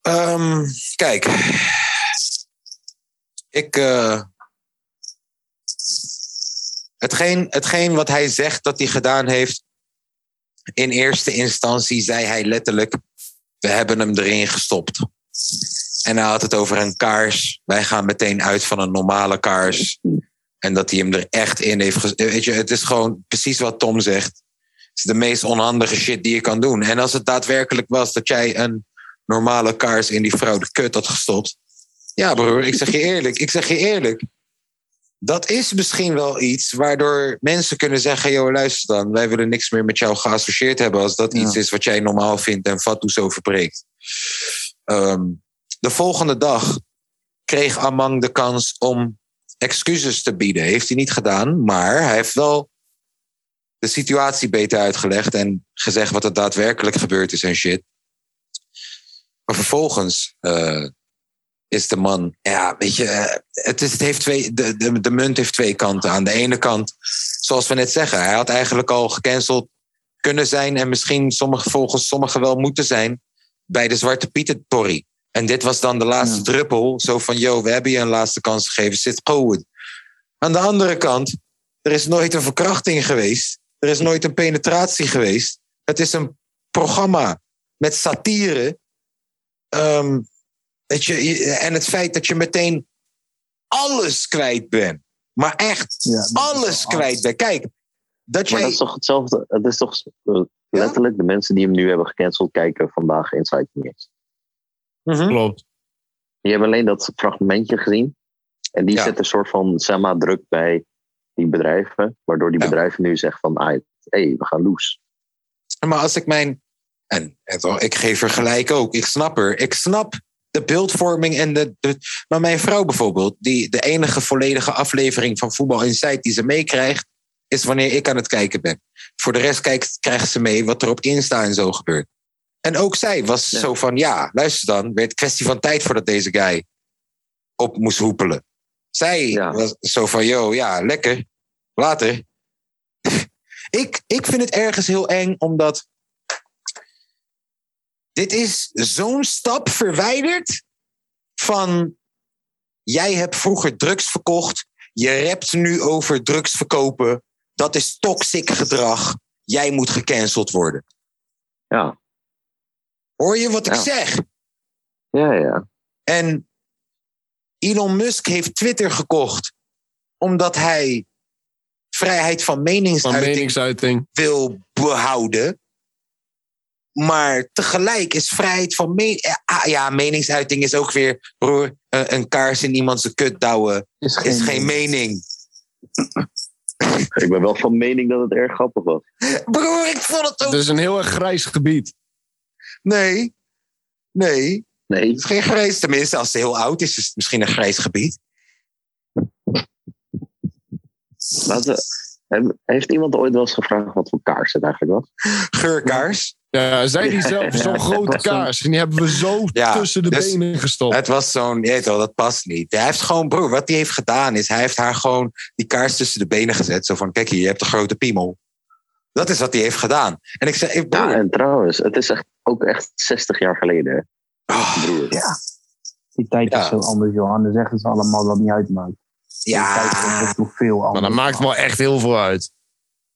Speaker 6: Ehm, kijk. Ik. eh, hetgeen, hetgeen wat hij zegt dat hij gedaan heeft. In eerste instantie zei hij letterlijk: We hebben hem erin gestopt. En hij had het over een kaars. Wij gaan meteen uit van een normale kaars. En dat hij hem er echt in heeft. ges- eh, Weet je, het is gewoon precies wat Tom zegt. Het is de meest onhandige shit die je kan doen. En als het daadwerkelijk was dat jij een normale kaars in die vrouw de kut had gestopt. Ja, broer, ik zeg je eerlijk. Ik zeg je eerlijk. Dat is misschien wel iets waardoor mensen kunnen zeggen: joh, luister dan, wij willen niks meer met jou geassocieerd hebben. als dat
Speaker 7: Ja.
Speaker 6: iets is wat jij normaal vindt en Fatou zo verbreekt. Ehm, de volgende dag kreeg Amang de kans om excuses te bieden. Heeft hij niet gedaan, maar hij heeft wel de situatie beter uitgelegd en gezegd wat er daadwerkelijk gebeurd is en shit. Maar vervolgens eh, is de man, ja, weet je, eh, het, is, het heeft twee, de, de, de munt heeft twee kanten. Aan de ene kant, zoals we net zeggen, hij had eigenlijk al gecanceld kunnen zijn en misschien sommige, volgens sommigen wel moeten zijn bij de Zwarte Pieter Torry. En dit was dan de laatste
Speaker 7: Ja.
Speaker 6: druppel, zo van, yo, we hebben je een laatste kans gegeven, zit goed. Aan de andere kant, er is nooit een verkrachting geweest, er is nooit een penetratie geweest. Het is een programma met satire Ehm, weet je, je- en het feit dat je meteen alles kwijt bent. Maar echt
Speaker 7: Ja, dat is
Speaker 6: alles
Speaker 7: wel
Speaker 6: kwijt bent. Kijk, dat
Speaker 4: Maar
Speaker 6: jij.
Speaker 4: dat is toch hetzelfde? Het is toch eh, letterlijk de mensen die hem nu hebben gecanceld kijken vandaag Inside E News.
Speaker 6: Mhm.
Speaker 5: Klopt.
Speaker 4: Je hebt alleen dat fragmentje gezien. En die
Speaker 6: Ja.
Speaker 4: zet een soort van zeg maar, druk bij die bedrijven. Waardoor die
Speaker 6: Ja.
Speaker 4: bedrijven nu zeggen van, hé, hey, we gaan loose.
Speaker 6: Maar als ik mijn. En het wel, ik geef er gelijk ook. Ik snap er. Ik snap de beeldvorming en de, de- Maar mijn vrouw bijvoorbeeld, die de enige volledige aflevering van Voetbal Insight die ze meekrijgt, is wanneer ik aan het kijken ben. Voor de rest kijkt, krijgt ze mee wat er op Insta en zo gebeurt. En ook zij was
Speaker 4: Ja.
Speaker 6: zo van: ja, luister dan, werd kwestie van tijd voordat deze guy op moest hoepelen. Zij
Speaker 4: Ja.
Speaker 6: was zo van: yo, ja, lekker. Later. ik, ik vind het ergens heel eng, omdat dit is zo'n stap verwijderd van. Jij hebt vroeger drugs verkocht. Je rapt nu over drugs verkopen. Dat is toxic gedrag. Jij moet gecanceld worden.
Speaker 4: Ja.
Speaker 6: Hoor je wat ik
Speaker 4: Ja.
Speaker 6: zeg?
Speaker 4: Ja, ja.
Speaker 6: En Elon Musk heeft Twitter gekocht omdat hij vrijheid van
Speaker 5: Van
Speaker 6: meningsuiting
Speaker 5: meningsuiting.
Speaker 6: wil behouden. Maar tegelijk is vrijheid van me- eh, ah, ja, meningsuiting is ook weer broer, eh, een kaars in iemand zijn kut douwen
Speaker 7: Is geen,
Speaker 6: is geen mening.
Speaker 4: Ik ben wel van mening dat het erg grappig was.
Speaker 6: Broer, ik vond het ook.
Speaker 5: Het is een heel erg grijs gebied.
Speaker 6: Nee. Nee.
Speaker 4: Nee.
Speaker 6: Het is geen grijs. Tenminste, als ze heel oud is, is het misschien een grijs gebied.
Speaker 4: Laten, we- heeft iemand ooit wel eens gevraagd wat voor kaars het eigenlijk was?
Speaker 6: Geurkaars.
Speaker 5: Ja, zij die zelf zo'n grote kaars. En die hebben we zo
Speaker 6: Ja,
Speaker 5: tussen de
Speaker 6: dus-
Speaker 5: benen gestopt.
Speaker 6: Het was zo'n. je weet wel, dat past niet. Hij heeft gewoon, broer, wat hij heeft gedaan is. Hij heeft haar gewoon die kaars tussen de benen gezet. Zo van: kijk hier, je hebt een grote piemel. Dat is wat hij heeft gedaan. En ik zei: hey, broer.
Speaker 4: Ja, en trouwens, het is echt, ook echt 60 jaar geleden. hè,
Speaker 6: Ah,
Speaker 4: Broer.
Speaker 7: Die tijd
Speaker 6: Ja.
Speaker 7: is zo anders, joh. Anders zeggen ze allemaal dat niet uitmaakt.
Speaker 6: Ah.
Speaker 7: Die tijd was
Speaker 6: ja.
Speaker 7: echt nog veel
Speaker 5: Maar
Speaker 7: anders.
Speaker 5: dat maakt wel echt heel veel uit.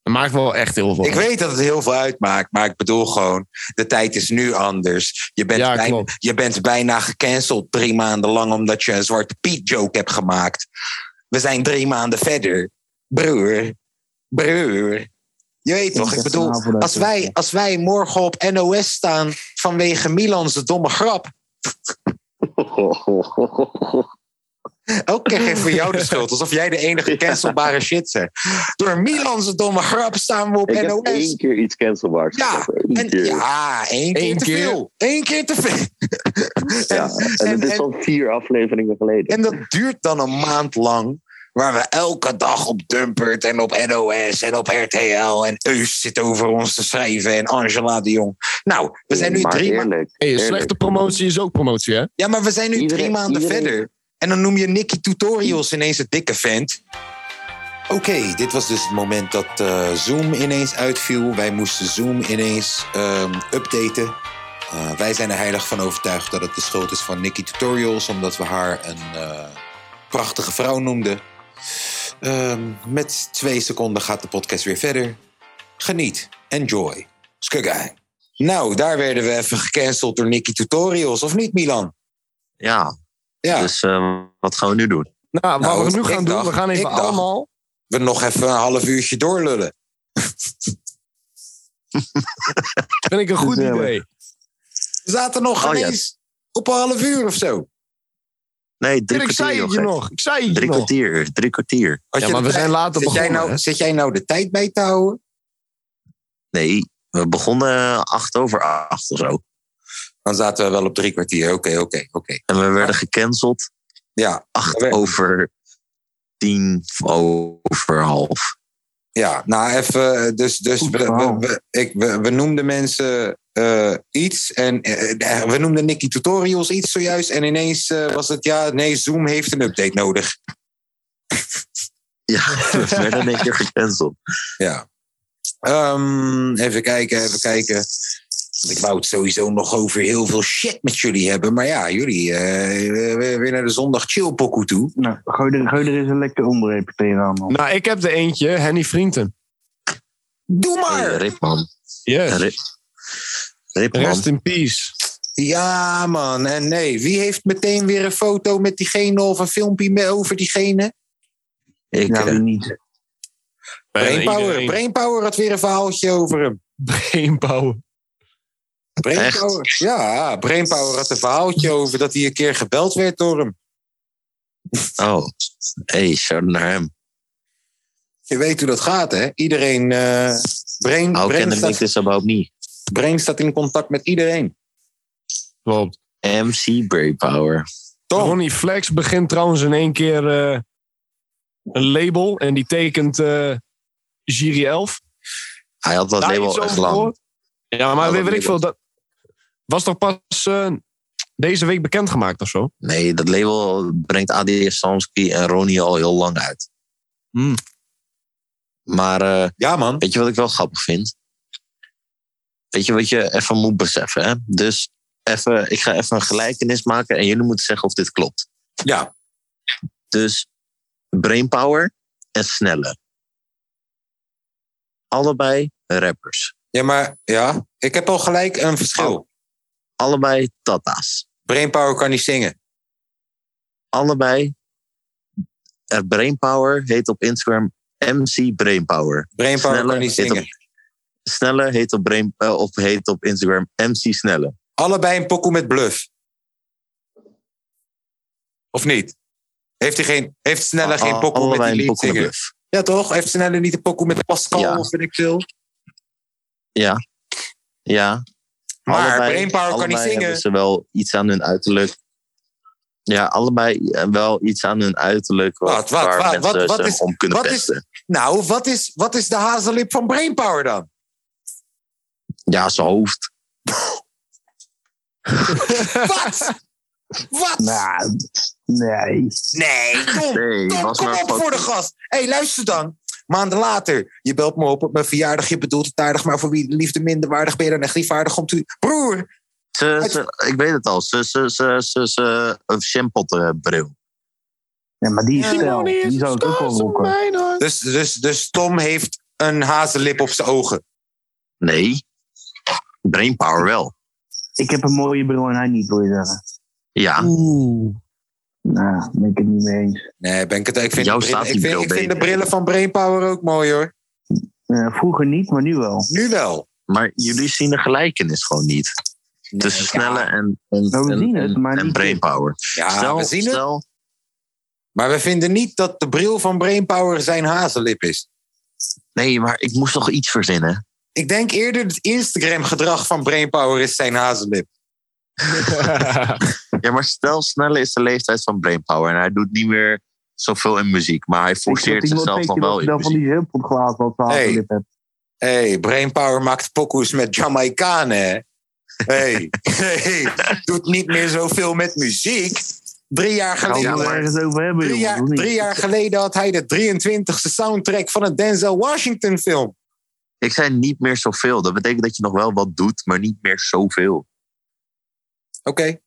Speaker 5: Dat maakt wel echt heel veel
Speaker 6: Ik
Speaker 5: uit.
Speaker 6: weet dat het heel veel uitmaakt, maar ik bedoel gewoon, de tijd is nu anders. Je bent,
Speaker 5: Ja,
Speaker 6: bijna,
Speaker 5: klopt.
Speaker 6: je bent bijna gecanceld drie maanden lang omdat je een zwarte Piet joke hebt gemaakt. We zijn drie maanden verder. Broer, broer. Je weet toch, ik bedoel,
Speaker 7: nou
Speaker 6: als wij, als wij morgen op NOS staan vanwege Milan's domme grap, elke keer geven we jou de schuld, alsof jij de enige cancelbare shit bent. Door Milan's domme grap staan we op
Speaker 4: Ik heb
Speaker 6: NOS.
Speaker 4: één keer iets cancelbaars.
Speaker 6: Ja,
Speaker 4: gezegd, één
Speaker 6: En,
Speaker 4: keer.
Speaker 6: ja, één keer
Speaker 5: Eén
Speaker 6: te
Speaker 5: keer.
Speaker 6: veel. Eén keer te veel.
Speaker 4: Ja,
Speaker 6: en,
Speaker 4: en, het
Speaker 6: en-
Speaker 4: is al vier afleveringen geleden.
Speaker 6: en dat duurt dan een maand lang. Waar we elke dag op Dumpert en op NOS en op RTL. En Eus zit over ons te schrijven. En Angela de Jong. Nou, we zijn nu
Speaker 4: maar
Speaker 6: drie maanden.
Speaker 4: eerlijk,
Speaker 5: Hey,
Speaker 4: eerlijk.
Speaker 5: slechte promotie is ook promotie, hè? Nou,
Speaker 6: Ja, maar we zijn nu drie
Speaker 4: Iedereen-
Speaker 6: maanden
Speaker 4: iedereen-
Speaker 6: verder. En dan noem je Nicky Tutorials ineens een dikke vent. Oké, dit was dus het moment dat eh, Zoom ineens uitviel. Wij moesten Zoom ineens ehm, updaten. Eh, wij zijn er heilig van overtuigd dat het de schuld is van Nicky Tutorials, omdat we haar een eh, prachtige vrouw noemden. Ehm, met twee seconden gaat de podcast weer verder. Geniet, enjoy. Skugai. Nou, daar werden we even gecanceld door Nicky Tutorials, of niet, Milan?
Speaker 9: Ja,
Speaker 6: Ja.
Speaker 9: dus ehm, wat gaan we nu doen?
Speaker 5: Nou,
Speaker 6: Nou,
Speaker 5: wat we nu
Speaker 6: ik
Speaker 5: gaan doen, we
Speaker 6: dacht-
Speaker 5: gaan even
Speaker 6: ik dacht-
Speaker 5: allemaal...
Speaker 6: we nog even een half uurtje doorlullen.
Speaker 5: Vind ik een goed
Speaker 7: Gezellig.
Speaker 5: idee.
Speaker 6: We zaten nog
Speaker 9: Oh, ja.
Speaker 6: ineens op een half uur of zo.
Speaker 9: Nee, drie
Speaker 5: Ik
Speaker 9: kwartier.
Speaker 5: zei het
Speaker 9: joh,
Speaker 5: je
Speaker 9: gek.
Speaker 5: nog. Ik zei het je
Speaker 9: Drie
Speaker 5: nog.
Speaker 9: kwartier, drie kwartier.
Speaker 6: Had
Speaker 5: Ja,
Speaker 6: je
Speaker 5: maar
Speaker 6: de
Speaker 5: we
Speaker 6: tijd-
Speaker 5: zijn later
Speaker 6: zit jij,
Speaker 5: begonnen,
Speaker 6: nou,
Speaker 5: hè?
Speaker 6: zit jij nou de tijd bij te houden?
Speaker 9: Nee, we begonnen acht over acht of zo.
Speaker 6: Dan zaten we wel op drie kwartier. Oké, oké, oké.
Speaker 9: En we werden gecanceld
Speaker 6: Ja,
Speaker 9: acht
Speaker 6: We-
Speaker 9: over tien over half.
Speaker 6: ja, nou even. Dus, dus
Speaker 7: Goed
Speaker 6: we, we,
Speaker 7: verhaal.
Speaker 6: we- ik, we, we noemden mensen eh, iets. En eh, eh, we noemden Nicky Tutorials iets zojuist. En ineens eh, was het ja, nee, Zoom heeft een update nodig.
Speaker 9: Ja, we werden in één keer gecanceld.
Speaker 6: Ja. Ehm, even kijken, even kijken. Want Ik wou het sowieso nog over heel veel shit met jullie hebben. Maar ja, jullie eh, weer- weer naar de zondag chillpokoe toe.
Speaker 7: Nou, gooi er, gooi er eens een lekker onderreep tegenaan, man.
Speaker 5: Nou, ik heb er eentje, Henny Vrienden.
Speaker 6: Doe
Speaker 9: Hey,
Speaker 6: maar!
Speaker 9: Rip, man.
Speaker 5: Yes.
Speaker 9: Rip, Rip, man.
Speaker 5: Rest in peace.
Speaker 6: Ja, man. En nee, wie heeft meteen weer een foto met diegene of een filmpje me- over diegene?
Speaker 9: Ik,
Speaker 7: Ja,
Speaker 9: eh,
Speaker 7: wie niet?
Speaker 6: Brainpower.
Speaker 5: Iedereen.
Speaker 6: Brainpower had weer een verhaaltje over hem.
Speaker 5: Brainpower.
Speaker 6: Brainpower. Ja, Brainpower had een verhaaltje over dat hij een keer gebeld werd door hem.
Speaker 9: oh, hey, shout out naar hem.
Speaker 6: Je weet hoe dat gaat, hè? Iedereen. eh brain,
Speaker 9: How
Speaker 6: brain
Speaker 9: can I
Speaker 6: staat-
Speaker 9: make this about me?
Speaker 6: Brain staat in contact met iedereen.
Speaker 5: Klopt.
Speaker 9: MC Brainpower.
Speaker 6: Tom,
Speaker 5: Ronnie Flex begint trouwens in één keer eh, een label. En die tekent eh Giri 11.
Speaker 9: Hij had dat
Speaker 5: Daar iets
Speaker 9: label echt
Speaker 5: over
Speaker 9: lang.
Speaker 5: gehoord? Ja, maar
Speaker 9: Ja,
Speaker 5: weet,
Speaker 9: dat
Speaker 5: weet ik veel. Ah, Dat was toch pas eh, deze week bekendgemaakt of zo?
Speaker 9: Nee, dat label brengt AD Samsky en Ronnie al heel lang uit.
Speaker 5: Hmm.
Speaker 9: Maar eh,
Speaker 6: ja man.
Speaker 9: weet je wat ik wel grappig vind? Weet je wat je even moet beseffen? Hè? Dus even, ik ga even een gelijkenis maken en jullie moeten zeggen of dit klopt.
Speaker 6: Ja.
Speaker 9: Dus
Speaker 4: Brainpower en Snelle. Allebei rappers.
Speaker 6: Ja, maar ja, ik heb al gelijk een verschil.
Speaker 4: Allebei Tata's.
Speaker 6: Brainpower kan niet zingen.
Speaker 4: Allebei. eh, Brainpower heet op Instagram MC Brainpower.
Speaker 6: Brainpower
Speaker 4: Snelle
Speaker 6: kan niet
Speaker 4: heet op-
Speaker 6: zingen.
Speaker 4: Snelle heet op, Brain, eh, of heet op Instagram MC Snelle.
Speaker 6: Allebei een pokoe met bluff. Of niet? Heeft, hij geen, heeft Snelle geen
Speaker 4: Al-
Speaker 6: pokoe met
Speaker 4: Ah, allebei
Speaker 6: die
Speaker 4: een
Speaker 6: lied
Speaker 4: pokoe met
Speaker 6: zingen?
Speaker 4: bluff.
Speaker 6: Ja, toch? Heeft Snelle niet een pokoe met Pascal
Speaker 4: Ja.
Speaker 6: of weet ik veel?
Speaker 4: Ja.
Speaker 6: Maar Brainpower kan niet
Speaker 4: allebei
Speaker 6: zingen.
Speaker 4: hebben ze wel iets aan hun uiterlijk. Ja, allebei eh, wel iets aan hun uiterlijk. Wat,
Speaker 6: Wat, wat,
Speaker 4: waar
Speaker 6: wat,
Speaker 4: mensen
Speaker 6: wat, wat
Speaker 4: ze
Speaker 6: is-
Speaker 4: om kunnen
Speaker 6: wat is-
Speaker 4: pesten.
Speaker 6: Nou, wat is, wat is de hazellip van Brainpower dan?
Speaker 4: Ja, zijn hoofd.
Speaker 6: Wat? Wat?
Speaker 7: Nou, nee.
Speaker 6: Nee, Tom,
Speaker 10: Nee,
Speaker 6: Tom,
Speaker 10: was
Speaker 6: kom
Speaker 10: maar
Speaker 6: op voor de gast. Hé, hey, luister dan. Maanden later, je belt me op op mijn verjaardag. Je bedoelt het aardig, maar voor wie de liefde minder waardig ben je dan echt niet vaardig om te... Broer,
Speaker 4: Ze, ze- ik weet het al. Ze, ze, ze, ze, ze, een shampotten-bril.
Speaker 7: Ja, maar die is stijl. Die zou ik ook wel roepen.
Speaker 6: dus, dus, dus Tom heeft een hazenlip op zijn ogen.
Speaker 4: Nee. Brainpower wel.
Speaker 7: Ik heb een mooie bril en hij niet, wil je zeggen.
Speaker 4: Ja.
Speaker 11: Oeh.
Speaker 7: Nou, daar ben ik het niet mee eens.
Speaker 6: Nee, ben ik het... Ik vind,
Speaker 4: Jou
Speaker 6: de brillen-
Speaker 4: staat die
Speaker 6: ik vind,
Speaker 4: bril
Speaker 6: ik vind de
Speaker 4: beter.
Speaker 6: brillen van Brainpower ook mooi, hoor.
Speaker 7: Eh, vroeger niet, maar nu wel.
Speaker 6: Nu wel.
Speaker 4: Maar jullie zien de gelijkenis gewoon niet. Tussen snelle en, en,
Speaker 7: Nou, we
Speaker 4: en,
Speaker 7: zien het,
Speaker 4: en,
Speaker 7: maar
Speaker 4: en
Speaker 7: niet-
Speaker 4: brainpower.
Speaker 6: Ja,
Speaker 4: stel,
Speaker 6: Ah, we zien het.
Speaker 4: stel,
Speaker 6: Maar we vinden niet dat de bril van Brainpower zijn hazenlip is.
Speaker 4: Nee, maar ik moest toch iets verzinnen?
Speaker 6: Ik denk eerder het Instagram-gedrag van Brainpower is zijn hazenlip.
Speaker 4: Ja, maar stel, Snelle is de leeftijd van Brainpower. En hij doet niet meer zoveel in muziek. Maar hij forceert
Speaker 7: Ik wil dat
Speaker 4: zichzelf nog
Speaker 7: iemand weet
Speaker 4: wel
Speaker 7: dat je
Speaker 4: in
Speaker 7: dan van
Speaker 4: muziek.
Speaker 7: die humpelglaas wat we
Speaker 6: Hey.
Speaker 7: hey. hebt.
Speaker 6: hey, Brainpower maakt pokoes met Jamaicanen. hè? hey, hey, doet niet meer zoveel met muziek. Drie jaar
Speaker 7: Gaan we
Speaker 6: geleden,
Speaker 7: het
Speaker 4: maar-
Speaker 7: ergens over hebben,
Speaker 6: drie
Speaker 7: jongens,
Speaker 6: jaar,
Speaker 7: of niet?
Speaker 6: drie jaar geleden had hij de 23e soundtrack van een Denzel Washington film.
Speaker 4: Ik zei niet meer zoveel. Dat betekent dat je nog wel wat doet, maar niet meer zoveel.
Speaker 6: Oké.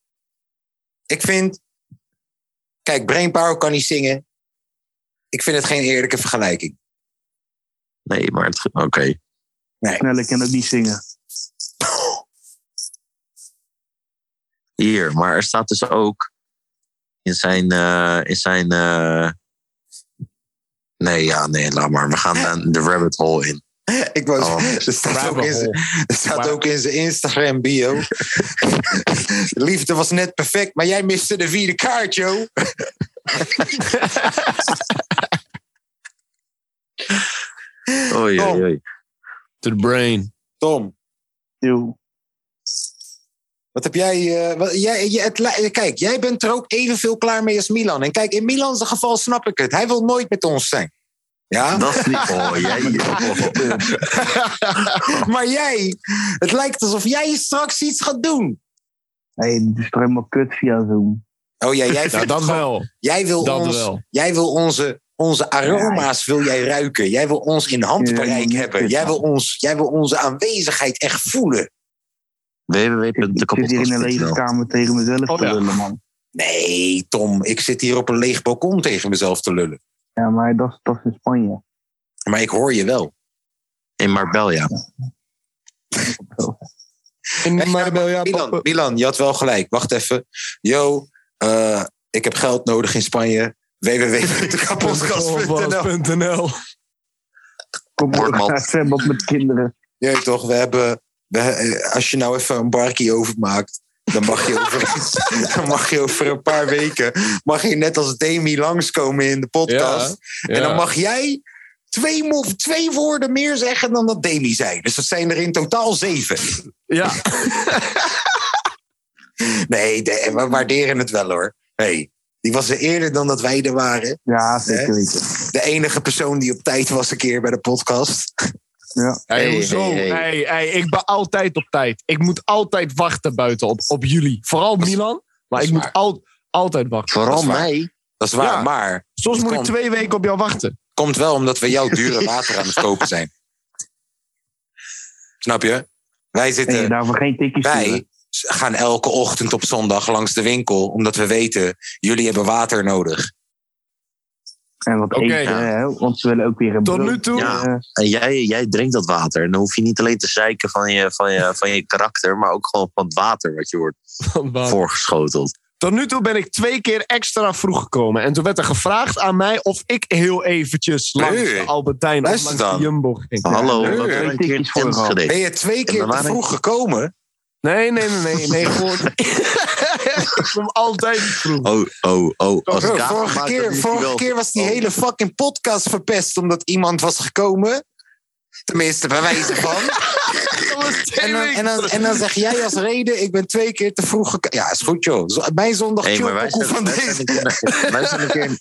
Speaker 6: Ik vind... Kijk, Brainpower kan niet zingen. Ik vind het geen eerlijke vergelijking.
Speaker 4: Nee, maar het- oké.
Speaker 7: Snelle kan ook niet zingen.
Speaker 4: Hier, maar er staat dus ook in zijn... eh, in zijn eh, Nee, ja, nee, laat maar. We gaan dan de rabbit hole in.
Speaker 6: Ik was,
Speaker 4: Oh,
Speaker 6: er staat ook in zijn- Er staat
Speaker 5: Maar-
Speaker 6: ook in zijn Instagram bio. Liefde was net perfect, maar jij miste de vierde kaart, joh.
Speaker 5: Oh,
Speaker 4: Oei, oei, oei.
Speaker 5: To the brain.
Speaker 6: Tom,
Speaker 7: Eeuw.
Speaker 6: wat heb jij... eh, wat- jij je- het li- eh, kijk, jij bent er ook evenveel klaar mee als Milan. En kijk, in Milan's geval snap ik het. Hij wil nooit met ons zijn. Ja?
Speaker 4: Dat is niet... Oh, jij... oh.
Speaker 6: maar jij, het lijkt alsof jij straks iets gaat doen.
Speaker 7: Hey, het is toch helemaal kut via Zoom.
Speaker 6: Oh ja, jij,
Speaker 5: Ja,
Speaker 6: vindt
Speaker 5: dat
Speaker 6: gewoon-
Speaker 5: wel.
Speaker 6: jij wil,
Speaker 5: Dat
Speaker 6: ons,
Speaker 5: wel.
Speaker 6: Jij wil onze, onze aroma's wil jij ruiken. Jij wil ons in handbereik
Speaker 7: Ja,
Speaker 6: hebben. Jij wil, ons, jij wil onze aanwezigheid echt voelen.
Speaker 7: Ik zit hier in een
Speaker 4: www.dekoppelkast.nl
Speaker 7: lege kamer tegen mezelf
Speaker 5: Oh,
Speaker 7: te
Speaker 5: ja.
Speaker 7: lullen, man.
Speaker 6: Nee, Tom, ik zit hier op een leeg balkon tegen mezelf te lullen.
Speaker 7: Ja, maar dat, is- dat is in Spanje.
Speaker 6: Maar ik hoor je wel.
Speaker 4: In Marbella.
Speaker 5: In
Speaker 6: Hey,
Speaker 5: mijn bel, ja,
Speaker 6: Milan,
Speaker 5: papa.
Speaker 6: Milan, je had wel gelijk. Wacht even. Yo, eh, ik heb geld nodig in Spanje. www.kapotkast.nl
Speaker 5: Podcast.nl.
Speaker 7: Kom
Speaker 4: Word,
Speaker 7: op,
Speaker 4: man.
Speaker 7: naar het zwembad met kinderen.
Speaker 6: Je weet toch, we hebben... we- eh, als je nou even een barkie overmaakt... Dan mag, je over, dan mag je over een paar weken... Mag je net als Demi langskomen in de podcast. En dan mag jij twee, mo- twee woorden meer zeggen dan dat Demi zei. Dus dat zijn er in totaal zeven.
Speaker 5: Ja,
Speaker 6: Nee, de- we waarderen het wel hoor. Hey, die was er eerder dan dat wij er waren.
Speaker 7: Ja, zeker weten.
Speaker 6: De enige persoon die op tijd was een keer bij de podcast.
Speaker 5: Hey,
Speaker 4: Hey,
Speaker 5: hoezo?
Speaker 4: hey,
Speaker 5: Hey,
Speaker 4: hey.
Speaker 5: hey, ik ben altijd op tijd. Ik moet altijd wachten buiten op, op jullie. Vooral Milan, maar
Speaker 6: is
Speaker 5: ik
Speaker 6: waar.
Speaker 5: moet al, altijd wachten.
Speaker 4: Vooral
Speaker 6: Dat is waar.
Speaker 4: mij.
Speaker 6: Dat is waar,
Speaker 5: Ja.
Speaker 6: maar
Speaker 5: Soms
Speaker 6: Dat
Speaker 5: moet ik
Speaker 6: kan.
Speaker 5: twee weken op jou wachten.
Speaker 6: komt wel omdat we jouw dure water aan het kopen zijn. Snap je? Wij
Speaker 7: En je
Speaker 5: Eh,
Speaker 6: zitten,
Speaker 7: daarvoor geen tikkie sturen.
Speaker 6: wij gaan elke ochtend op zondag langs de winkel, omdat we weten, jullie hebben water nodig.
Speaker 7: En wat
Speaker 5: Oké.
Speaker 7: eten, hè, want ze willen ook weer een
Speaker 5: Tot
Speaker 7: brood. Eh,
Speaker 5: nu toe?
Speaker 7: Ja.
Speaker 9: Ja. En jij, jij drinkt dat water. En dan hoef je niet alleen te zeiken van je, van, je, van je karakter, maar ook gewoon van het water wat je wordt
Speaker 5: Van waar?
Speaker 9: voorgeschoteld.
Speaker 5: Tot nu toe ben ik twee keer extra vroeg gekomen. En toen werd er gevraagd aan mij of ik heel eventjes langs
Speaker 6: Nee.
Speaker 5: de Albertijn of
Speaker 6: Luister
Speaker 5: langs
Speaker 6: dan.
Speaker 5: de Jumbo ging.
Speaker 9: Hallo,
Speaker 6: nee,
Speaker 9: we
Speaker 6: nee,
Speaker 9: hebben een
Speaker 7: tikjes
Speaker 9: keer
Speaker 7: voor
Speaker 9: tent
Speaker 7: gehad.
Speaker 9: gedaan.
Speaker 6: Ben je twee keer te
Speaker 9: waren-
Speaker 6: vroeg gekomen?
Speaker 5: Nee, nee, nee, nee. nee gewoon... ik kom altijd vroeg.
Speaker 9: Oh, oh, oh. Als
Speaker 6: Bro,
Speaker 9: ik kaas
Speaker 6: vorige
Speaker 9: maak, dan
Speaker 6: keer,
Speaker 9: moet je
Speaker 6: vorige
Speaker 9: wel-
Speaker 6: keer was die
Speaker 9: Oh.
Speaker 6: hele fucking podcast verpest omdat iemand was gekomen. Tenminste, bij wijze van.
Speaker 5: Dat was twee
Speaker 6: En dan,
Speaker 5: weken
Speaker 6: en, dan,
Speaker 5: terug.
Speaker 6: en dan zeg jij als reden, ik ben twee keer te vroeg gekomen. Ja, is goed joh. Zo- Mijn zondag
Speaker 9: Hey, maar
Speaker 6: chill
Speaker 9: wij
Speaker 6: pokoe
Speaker 9: zijn,
Speaker 6: van
Speaker 9: wij,
Speaker 6: deze.
Speaker 9: zijn een keer, wij zijn een keer...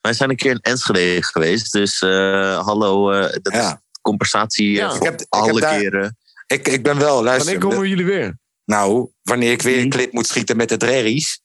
Speaker 9: Wij zijn een keer in Enschede geweest, dus eh, hallo, eh, dat
Speaker 6: Ja.
Speaker 9: is compensatie eh,
Speaker 5: Ja.
Speaker 9: voor
Speaker 6: Ik heb- ik heb
Speaker 9: alle
Speaker 6: daar-
Speaker 9: keren.
Speaker 6: Ik, ik ben wel, luister.
Speaker 5: Wanneer komen jullie weer?
Speaker 6: Nou, wanneer ik
Speaker 7: Hmm?
Speaker 6: weer een clip moet schieten met de drerries.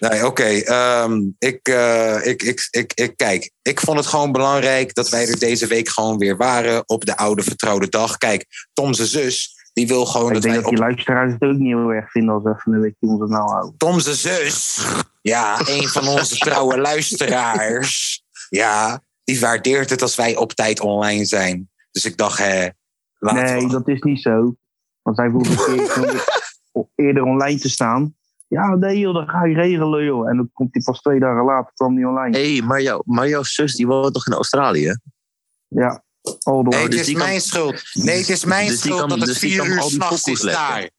Speaker 6: Nee, oké. ehm, ik, eh, ik, ik, ik, ik, kijk, ik vond het gewoon belangrijk dat wij er deze week gewoon weer waren op de oude vertrouwde dag. Kijk, Tom zijn zus, die wil gewoon
Speaker 7: Ik
Speaker 6: dat
Speaker 7: denk
Speaker 6: wij
Speaker 7: dat die
Speaker 6: op...
Speaker 7: luisteraars het ook niet heel erg vinden als we even een beetje onze nou houden.
Speaker 6: Tom zijn zus, ja, een van onze trouwe luisteraars, ja, die waardeert het als wij op tijd online zijn. Dus ik dacht, hè, laten we...
Speaker 7: nee, dat is niet zo. Want zij vroeg een keer toen ik o- eerder online te staan. Ja, nee joh, dat ga je regelen joh. En dan komt hij pas twee dagen later, kwam hij online.
Speaker 9: Hé, hey, maar, jou, maar jouw zus die woont nog in Australië?
Speaker 7: Ja, all the
Speaker 6: Nee,
Speaker 7: way.
Speaker 9: Oh,
Speaker 6: het
Speaker 9: dus
Speaker 6: is
Speaker 9: die kan-
Speaker 6: mijn schuld. Nee, het is mijn
Speaker 9: dus die
Speaker 6: schuld
Speaker 9: kan-
Speaker 6: dat het
Speaker 9: dus die
Speaker 6: vier
Speaker 9: kan
Speaker 6: uur
Speaker 9: al die
Speaker 6: s'nachts is
Speaker 9: pokoes lekken.
Speaker 6: daar.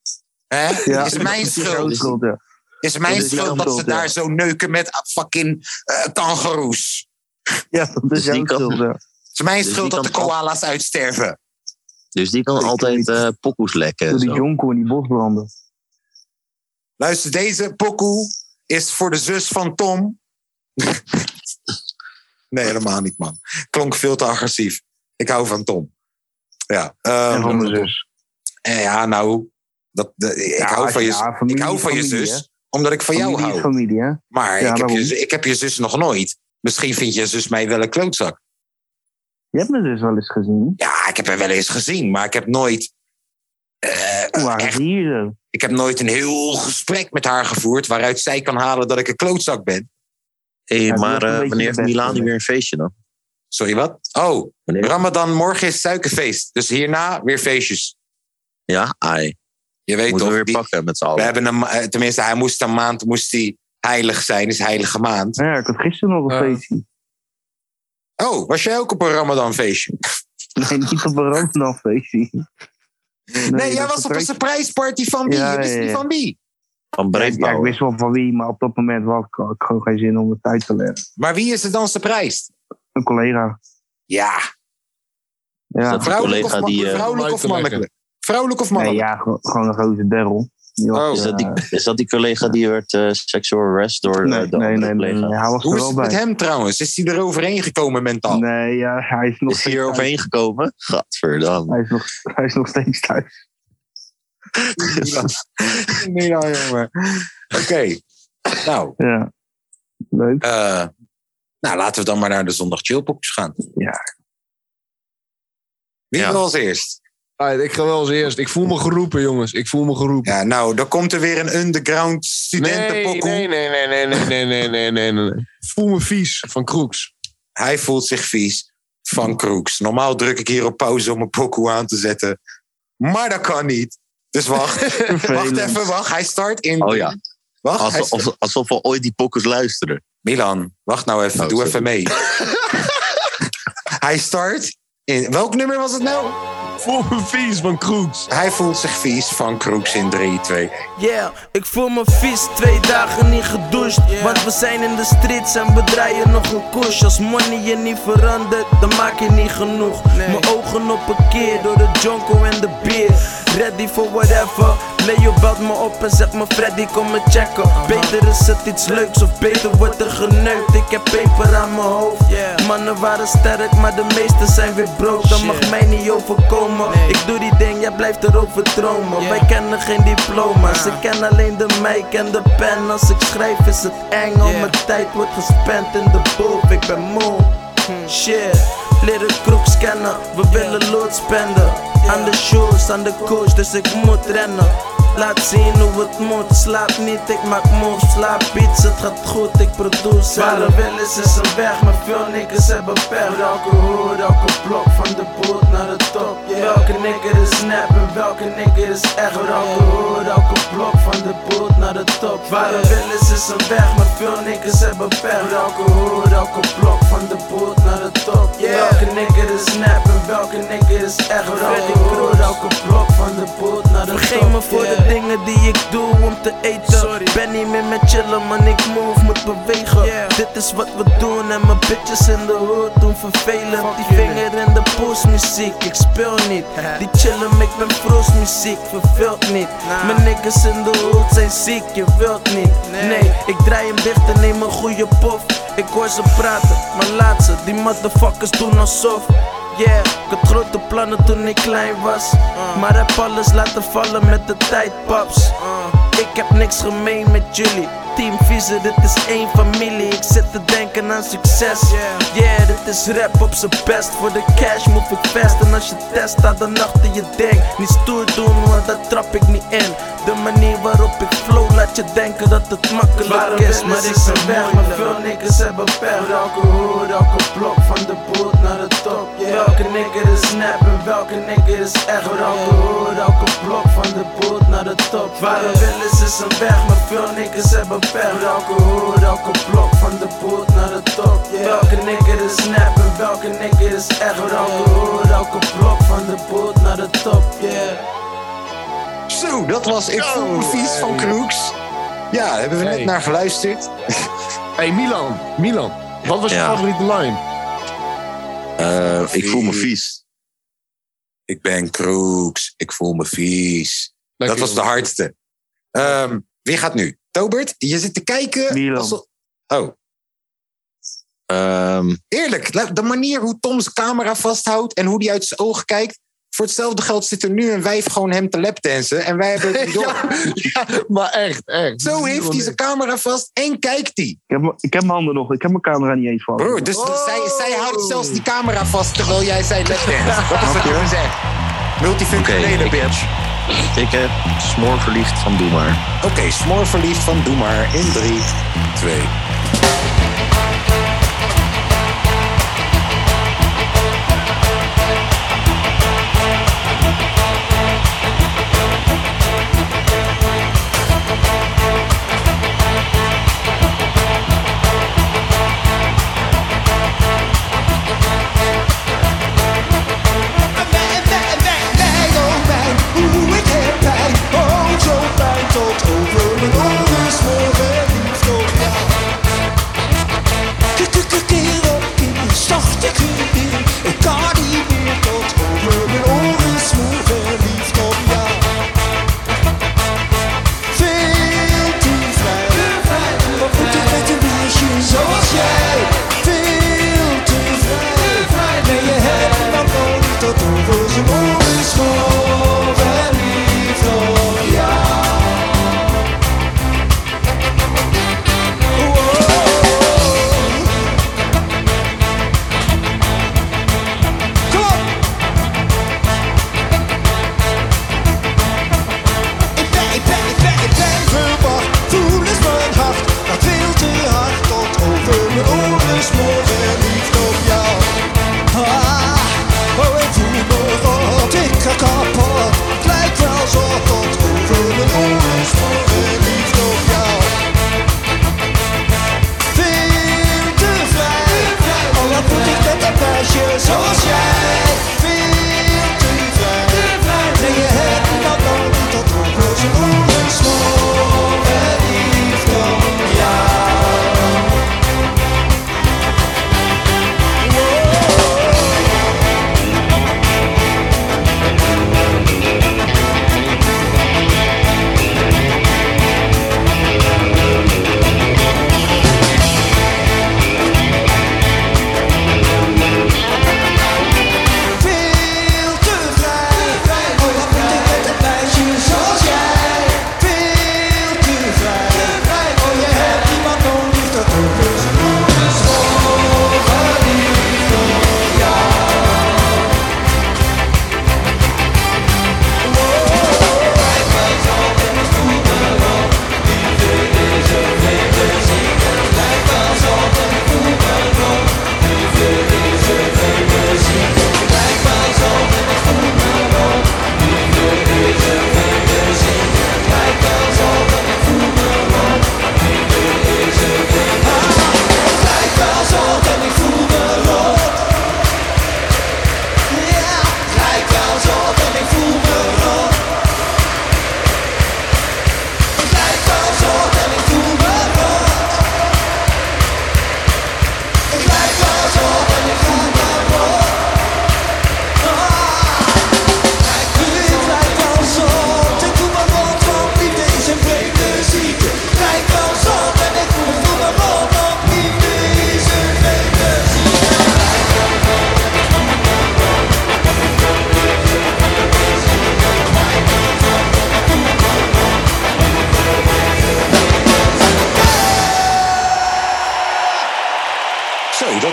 Speaker 6: Hè?
Speaker 7: Ja.
Speaker 6: Het is mijn
Speaker 7: Het is
Speaker 6: schuld.
Speaker 7: jouw schuld, ja.
Speaker 6: Het is mijn
Speaker 9: Dus die
Speaker 6: schuld
Speaker 9: kan
Speaker 6: dat ze
Speaker 7: schuld, ja.
Speaker 6: daar zo neuken met ah, fucking eh kangoeroes.
Speaker 7: Ja, dat
Speaker 9: Dus
Speaker 7: is
Speaker 9: die
Speaker 7: jouw
Speaker 9: kan-
Speaker 7: schuld, ja.
Speaker 6: Het is mijn
Speaker 9: Dus
Speaker 6: schuld
Speaker 9: die
Speaker 6: dat de
Speaker 9: kan-
Speaker 6: koala's uitsterven.
Speaker 9: Dus die kan altijd eh pokoes lekken. en
Speaker 7: Door die
Speaker 9: zo.
Speaker 7: jonko in die bosbranden.
Speaker 6: Luister, deze pokoe is voor de zus van Tom. nee, helemaal niet, man. Klonk veel te agressief. Ik hou van Tom. Ja, ehm,
Speaker 7: en van mijn zus.
Speaker 6: eh, ja nou, dat, de- ik, hou van je,
Speaker 7: ja,
Speaker 6: ik
Speaker 7: familie
Speaker 6: hou
Speaker 7: is
Speaker 6: van je
Speaker 7: familie,
Speaker 6: zus,
Speaker 7: hè.
Speaker 6: omdat ik van jou
Speaker 7: Familie is
Speaker 6: hou.
Speaker 7: familie, hè?
Speaker 6: Maar
Speaker 7: Ja,
Speaker 6: ik, heb
Speaker 7: waarom?
Speaker 6: je, zu- ik heb je zus nog nooit. Misschien vindt je zus mij wel een klootzak.
Speaker 7: Je hebt mijn zus wel eens gezien.
Speaker 6: Ja, ik heb haar wel eens gezien, maar ik heb nooit, eh,
Speaker 7: Toen waren ze hier zo.
Speaker 6: ik heb nooit een heel gesprek met haar gevoerd waaruit zij kan halen dat ik een klootzak ben.
Speaker 9: Hé,
Speaker 7: Ja, die
Speaker 9: maar
Speaker 7: heeft een
Speaker 9: eh,
Speaker 7: beetje
Speaker 9: wanneer heeft
Speaker 7: de beste
Speaker 9: Milan nu
Speaker 7: weg.
Speaker 9: weer een feestje dan?
Speaker 6: Sorry, wat? Oh,
Speaker 9: Wanneer?
Speaker 6: Ramadan, morgen is suikerfeest. Dus hierna weer feestjes.
Speaker 9: Ja, ai.
Speaker 6: Je weet
Speaker 9: Moeten we
Speaker 6: toch,
Speaker 9: weer
Speaker 6: die-
Speaker 9: pakken met z'n
Speaker 6: we
Speaker 9: allen.
Speaker 6: hebben een, ma- eh, tenminste, hij moest een maand moest hij heilig zijn, is heilige maand.
Speaker 7: Ja, ik had gisteren nog een
Speaker 5: Ja.
Speaker 7: feestje.
Speaker 6: Oh, was jij ook op een Ramadan feestje?
Speaker 7: Nee, niet op een Ramadan feestje.
Speaker 6: Nee, jij was op een surprise party van wie?
Speaker 7: Ja,
Speaker 6: je wist
Speaker 7: ja,
Speaker 6: niet
Speaker 7: ja.
Speaker 6: van wie.
Speaker 9: Van
Speaker 7: Ja, ik
Speaker 9: Breedbouw.
Speaker 7: wist wel van wie, maar op dat moment had ik, had ik gewoon geen zin om het uit te leggen.
Speaker 6: Maar wie is er dan surprised?
Speaker 7: Een collega.
Speaker 6: Ja,
Speaker 7: Ja,
Speaker 9: dat-
Speaker 6: Vrouwelijk of,
Speaker 9: collega
Speaker 6: ma-
Speaker 9: die, eh,
Speaker 6: vrouwelijk
Speaker 5: om
Speaker 6: of
Speaker 5: uit te leggen.
Speaker 6: mannelijk? Vrouwelijk of
Speaker 7: nee,
Speaker 6: mannelijk?
Speaker 7: ja gewoon, gewoon een roze derrel. Die was,
Speaker 6: Oh.
Speaker 9: Is dat, die,
Speaker 7: eh,
Speaker 9: is dat die collega die werd eh seksueel arrest door eh,
Speaker 7: nee,
Speaker 9: de
Speaker 7: nee,
Speaker 9: andere
Speaker 7: nee, nee,
Speaker 9: collega?
Speaker 7: nee, hij was
Speaker 6: Hoe
Speaker 7: er
Speaker 6: is
Speaker 7: wel
Speaker 6: het
Speaker 7: bij.
Speaker 6: met hem trouwens? Is hij er overheen gekomen mentaal?
Speaker 7: Nee, ja, hij is nog
Speaker 9: Is hij
Speaker 7: steeds
Speaker 9: hier
Speaker 7: thuis.
Speaker 9: overheen gekomen? Gadverdamme.
Speaker 7: Hij is nog, hij is nog steeds thuis.
Speaker 6: Nee, ja, jongen. Oké. Nou,
Speaker 7: Ja. Leuk.
Speaker 6: eh, nou, laten we dan maar naar de zondag chillpokjes gaan.
Speaker 7: Ja.
Speaker 6: Wie
Speaker 9: Ja.
Speaker 6: wil als eerst?
Speaker 5: Alright, Ah, ik ga wel als eerst. Ik voel me geroepen, jongens. Ik voel me geroepen.
Speaker 6: Ja, nou, dan komt er weer een underground
Speaker 5: nee,
Speaker 6: studentenpokkel.
Speaker 5: nee, nee, nee, nee, nee, nee, nee, nee, nee, nee. Ik voel me vies van Kroeks.
Speaker 6: Hij voelt zich vies van Kroeks. Normaal druk ik hier op pauze om een pokoe aan te zetten. Maar dat kan niet. Dus wacht. wacht even, wacht. Hij start in...
Speaker 9: Oh ja,
Speaker 6: Wacht, hij
Speaker 9: alsof, alsof- alsof we ooit die pokkers luisteren.
Speaker 6: Milan, wacht nou even.
Speaker 9: Oh,
Speaker 6: Doe
Speaker 9: sorry.
Speaker 6: even mee. hij start in... Welk nummer was het nou?
Speaker 5: Ik voel me vies van Kroeks.
Speaker 6: Hij voelt zich vies van Kroeks in 3, 2, 1.
Speaker 12: Yeah, ik voel me vies, twee dagen niet gedoucht. Want we zijn in de streets en we draaien nog een koers. Als money je niet verandert, dan maak je niet genoeg. Mijn ogen op een keer door de jonko en de bier. Ready for whatever. Leo belt me op en zegt me Freddy kom me checken. Beter is het iets leuks of beter wordt er geneukt. Ik heb peper aan mijn hoofd. Mannen waren sterk, maar de meesten zijn weer brood. Dat mag mij niet overkomen. Ik doe die ding, jij blijft erover dromen. Wij kennen geen diploma's. Ik ken alleen de mic en de pen. Als ik schrijf is het eng, al mijn tijd wordt gespend in de boven. Ik ben moe. Shit, leren kroeks kennen. We willen lood spenden. Aan de shows, aan de coach, dus ik moet rennen. Laat zien hoe het moet, slaap niet, ik maak moves Slaap iets, het gaat goed, ik produceer Waar er wel is, is er weg, maar veel nikkers hebben pech Welke hoed, elke blok, van de boot naar de top Welke nikker is nep en welke nikker is echt Welke hoed, elke blok, van de boot naar de top Waar er wel is, is er weg, maar veel nikkers hebben pech Welke hoed, elke blok, van de boot naar de top Welke nikker is nep en welke nikker is echt Welke hoed, elke blok, van de boot naar de top Vergeet me voor de dingen die ik doe om te eten Ben niet meer met chillen, man, ik move, moet bewegen Dit is wat we doen en mijn bitches in de hood doen vervelend Die vinger in de poes muziek, ik speel niet Die chillen, ik ben vroos muziek, verveelt niet Mijn niggas in de hood zijn ziek, je wilt niet Nee, ik draai hem dicht en neem een goede pof Ik hoor ze praten, maar laat ze, die motherfuckers doen alsof Yeah, ik had grote plannen toen ik klein was. Maar heb alles laten vallen met de tijd, paps. Ik heb niks gemeen met jullie. Team Vieze, dit is één familie. Ik zit te denken aan succes. Yeah, dit is rap op zijn best. Voor de cash moet ik best. En als je test, staat dan achter je denk. Niet stoer doen, want daar trap ik niet in. De manier waarop ik flow laat je denken dat het makkelijk is. Maar ik ben weg, maar veel niks hebben pech. Welke hoed, elke blok van de boot naar de top. Welke nigger is snap en welke nigger is echt. Welke hoed, elke blok van de boot naar de top. Waar een wil is, is een weg, maar veel niggers hebben pech. Welke hoed, elke blok van de boot naar de top. Welke nigger is snap en welke nigger is echt. Welke hoed, elke blok van de boot naar de top. Yeah.
Speaker 6: Zo, dat was Ik voel me vies van Kroeks. Ja, daar hebben we net naar geluisterd.
Speaker 5: hey Milan, Milan, wat was je
Speaker 9: Ja.
Speaker 5: favoriete line?
Speaker 9: Eh, ik voel me vies.
Speaker 6: Ik ben Kroeks, ik voel me vies.
Speaker 5: Dank
Speaker 6: dat
Speaker 5: je
Speaker 6: was de
Speaker 5: wel.
Speaker 6: hardste. Ehm, wie gaat nu? Tobert, je zit te kijken. alsof- Oh.
Speaker 9: Ehm,
Speaker 6: Eerlijk, la- de manier hoe Tom zijn camera vasthoudt en hoe hij uit zijn ogen kijkt. Voor hetzelfde geld zit er nu een wijf gewoon hem te lapdansen. En wij hebben het niet door.
Speaker 5: maar echt, echt.
Speaker 6: Zo heeft hij zijn camera vast en kijkt hij.
Speaker 7: Ik heb, ik heb mijn handen nog, ik heb mijn camera niet eens van.
Speaker 6: Broer, dus, dus zij, zij houdt zelfs die camera vast terwijl jij zei lapdance. Dat is wat ik wil zeggen. Multifunctionele
Speaker 9: Oké, ik-
Speaker 6: bitch.
Speaker 9: ik heb smoor verliefd van Doe maar.
Speaker 6: Oké, smoor verliefd van Doe maar in 3, 2.
Speaker 13: Tot over mijn oren smoren liefst op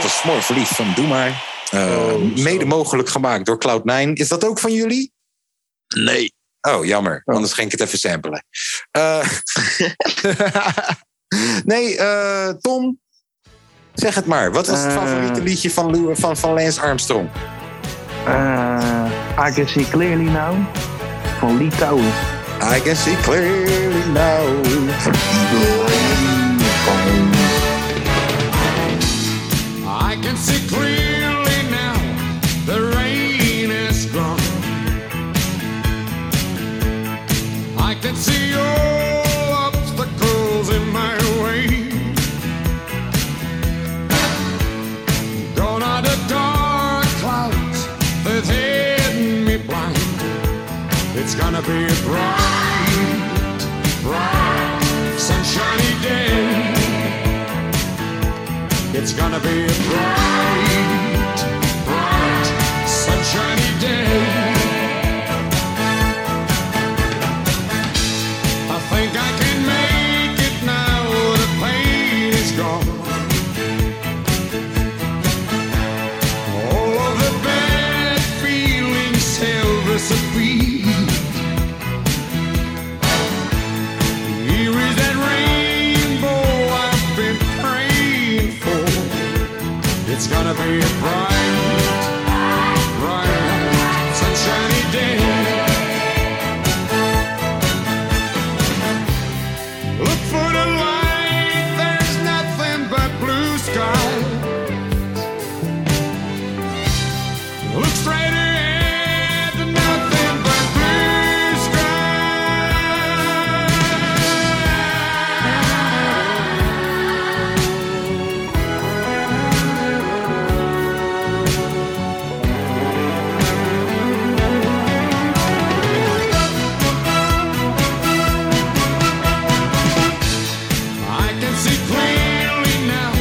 Speaker 1: was mooi verliefd van Doe maar. Eh, mede mogelijk gemaakt door Cloud9. Is dat ook van jullie? Nee. Oh, jammer. Anders ging ik het even samplen. Eh, nee, eh, Tom. Zeg het maar. Wat was het favoriete liedje van, Lou- van, van Lance Armstrong?
Speaker 7: I can see clearly now. Van Lee Towers.
Speaker 6: Ah,
Speaker 1: I can see clearly now.
Speaker 5: I can see clearly now the rain is gone. I can see all obstacles in my way. Gone are the dark clouds that's hidden me blind. It's gonna be a bright, bright, sunshiny day. It's gonna be a bright, bright, sunshiny day. I think I can make it now. The pain is gone. All of the bad feelings have disappeared. Here is that rainbow I've been praying for. It's gonna be a bright, bright, sunshiny day. Look for the light, there's nothing but blue skies. Look straight ahead, nothing but blue I can see clearly now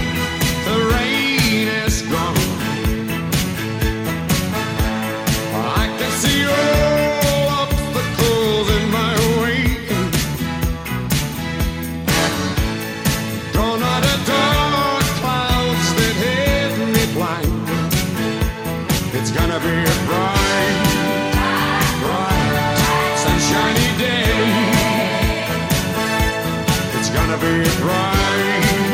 Speaker 5: the rain is gone. I can see all obstacles in my way. Gone are the dark clouds that hid me blind. It's gonna be a bright, bright, sunshiny day. It's gonna be a bright,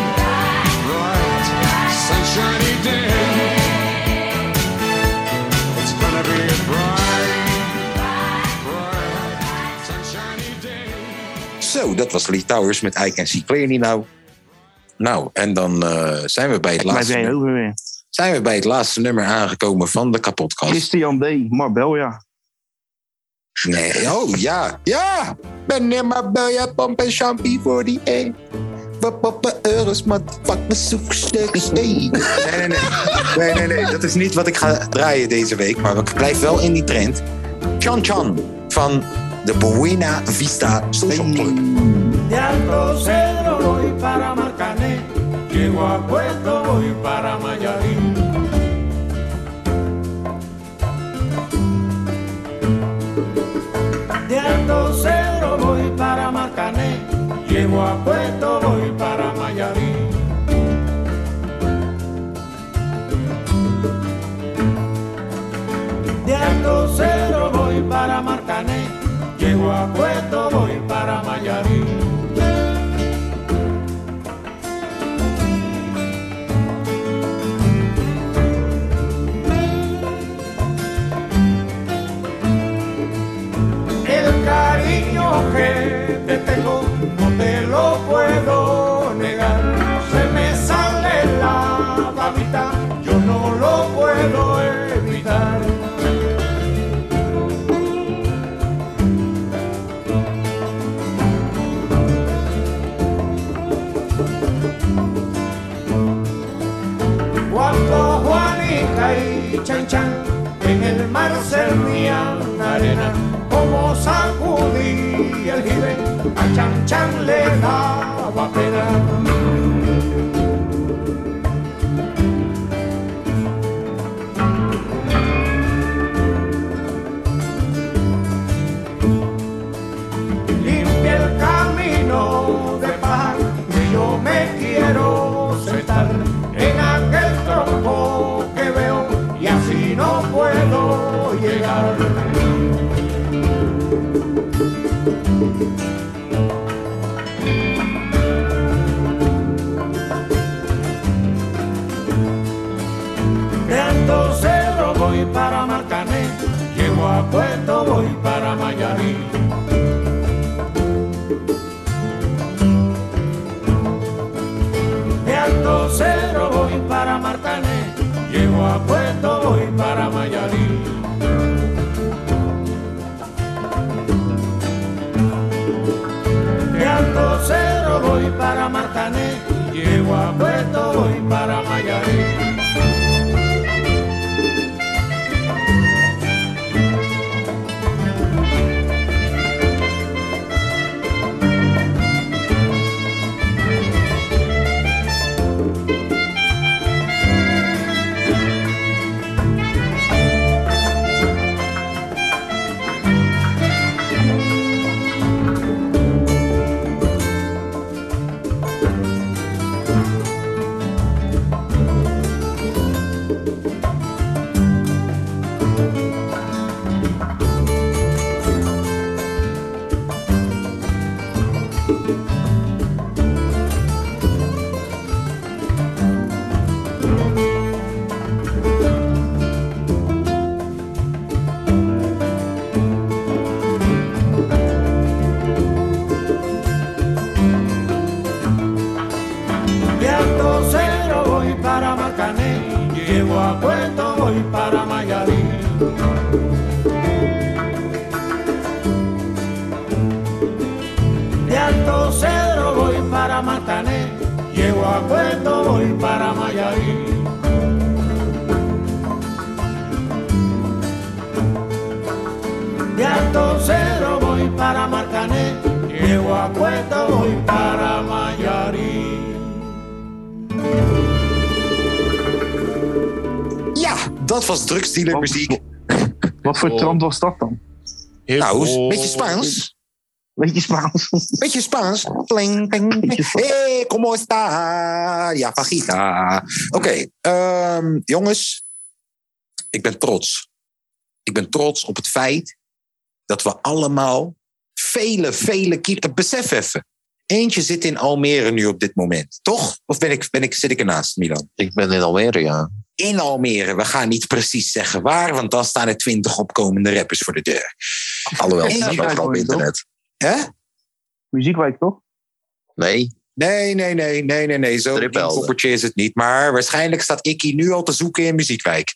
Speaker 5: bright, sunshiny day. It's gonna be a bright, bright, sunshiny day.
Speaker 1: Zo, dat was Lee Towers met I Can See Clearly Now. Nou, en dan eh, zijn, we bij het
Speaker 7: Blijf
Speaker 1: laatste,
Speaker 7: jij
Speaker 1: nummer-
Speaker 7: over weer.
Speaker 1: zijn we bij het laatste nummer aangekomen van de kapotkast.
Speaker 7: Christian D. Marbel, ja.
Speaker 1: Nee, oh ja, ja! Meneer Marbella, pomp en champie voor die E. We poppen euro's, motherfucker, zoek stuks Nee, nee, nee. Nee, nee, nee. Dat is niet wat ik ga draaien deze week. Maar ik blijf wel in die trend. Chan Chan van de Buena Vista Social Club.
Speaker 5: De Alto Cedro voy para Marcané, llego a Puerto voy para Mayarín. De Alto Cedro voy para Marcané, llego a Puerto voy para Mayarín. De Alto Cedro voy para Marcané, llego a Puerto voy para Mayarín. El cariño que te tengo no te lo puedo negar. Se me sale la babita, yo no lo puedo evitar. Cuando Juanica y Chan Chan en el mar servían arena, como sacudí el jibe, a Chan Chan le daba pena. Limpia el camino de paz, que yo me quiero sentar en aquel tronco
Speaker 13: para Puerto, voy para Mayarí. De Alto Cedro voy para Martané, llego a Puerto, voy para Mayarí. De Alto Cedro voy para Martané, llego a Puerto, voy para Mayarí. De Alto Cero voy para Marcané, llego a Puerto, voy para Mayarí. De Alto Cedro voy para Marcané, llego a Puerto, voy para Mayarí. De Alto Cedro voy para Marcané, llego a Puerto, voy para Mayarí.
Speaker 6: Ja, dat was drugsdealer
Speaker 1: Oh,
Speaker 6: muziek.
Speaker 7: Wat voor
Speaker 6: Oh.
Speaker 7: trant was dat dan?
Speaker 1: oh.
Speaker 6: Nou, een beetje Spaans.
Speaker 7: Beetje Spaans.
Speaker 6: Beetje Spaans. Pling, pling, pling. Hey, como está? Ja, fajita. Oké, ehm, jongens. Ik ben trots. Ik ben trots op het feit dat we allemaal vele, vele kilo... Besef even. Eentje zit in Almere nu op dit moment, toch? Of ben ik, ben ik, zit ik ernaast, Milan?
Speaker 4: Ik ben in Almere, ja.
Speaker 6: in Almere. We gaan niet precies zeggen waar, want dan staan er twintig opkomende rappers voor de deur.
Speaker 4: Alhoewel,
Speaker 6: Eén
Speaker 4: het staat
Speaker 6: draai
Speaker 4: overal op
Speaker 6: voor je, toch?
Speaker 4: internet.
Speaker 6: Hè?
Speaker 7: Muziekwijk, toch?
Speaker 4: Nee.
Speaker 6: Nee, nee, nee, nee, nee, nee. Zo'n koppertje is het niet. Maar waarschijnlijk staat Ikkie nu al te zoeken in Muziekwijk.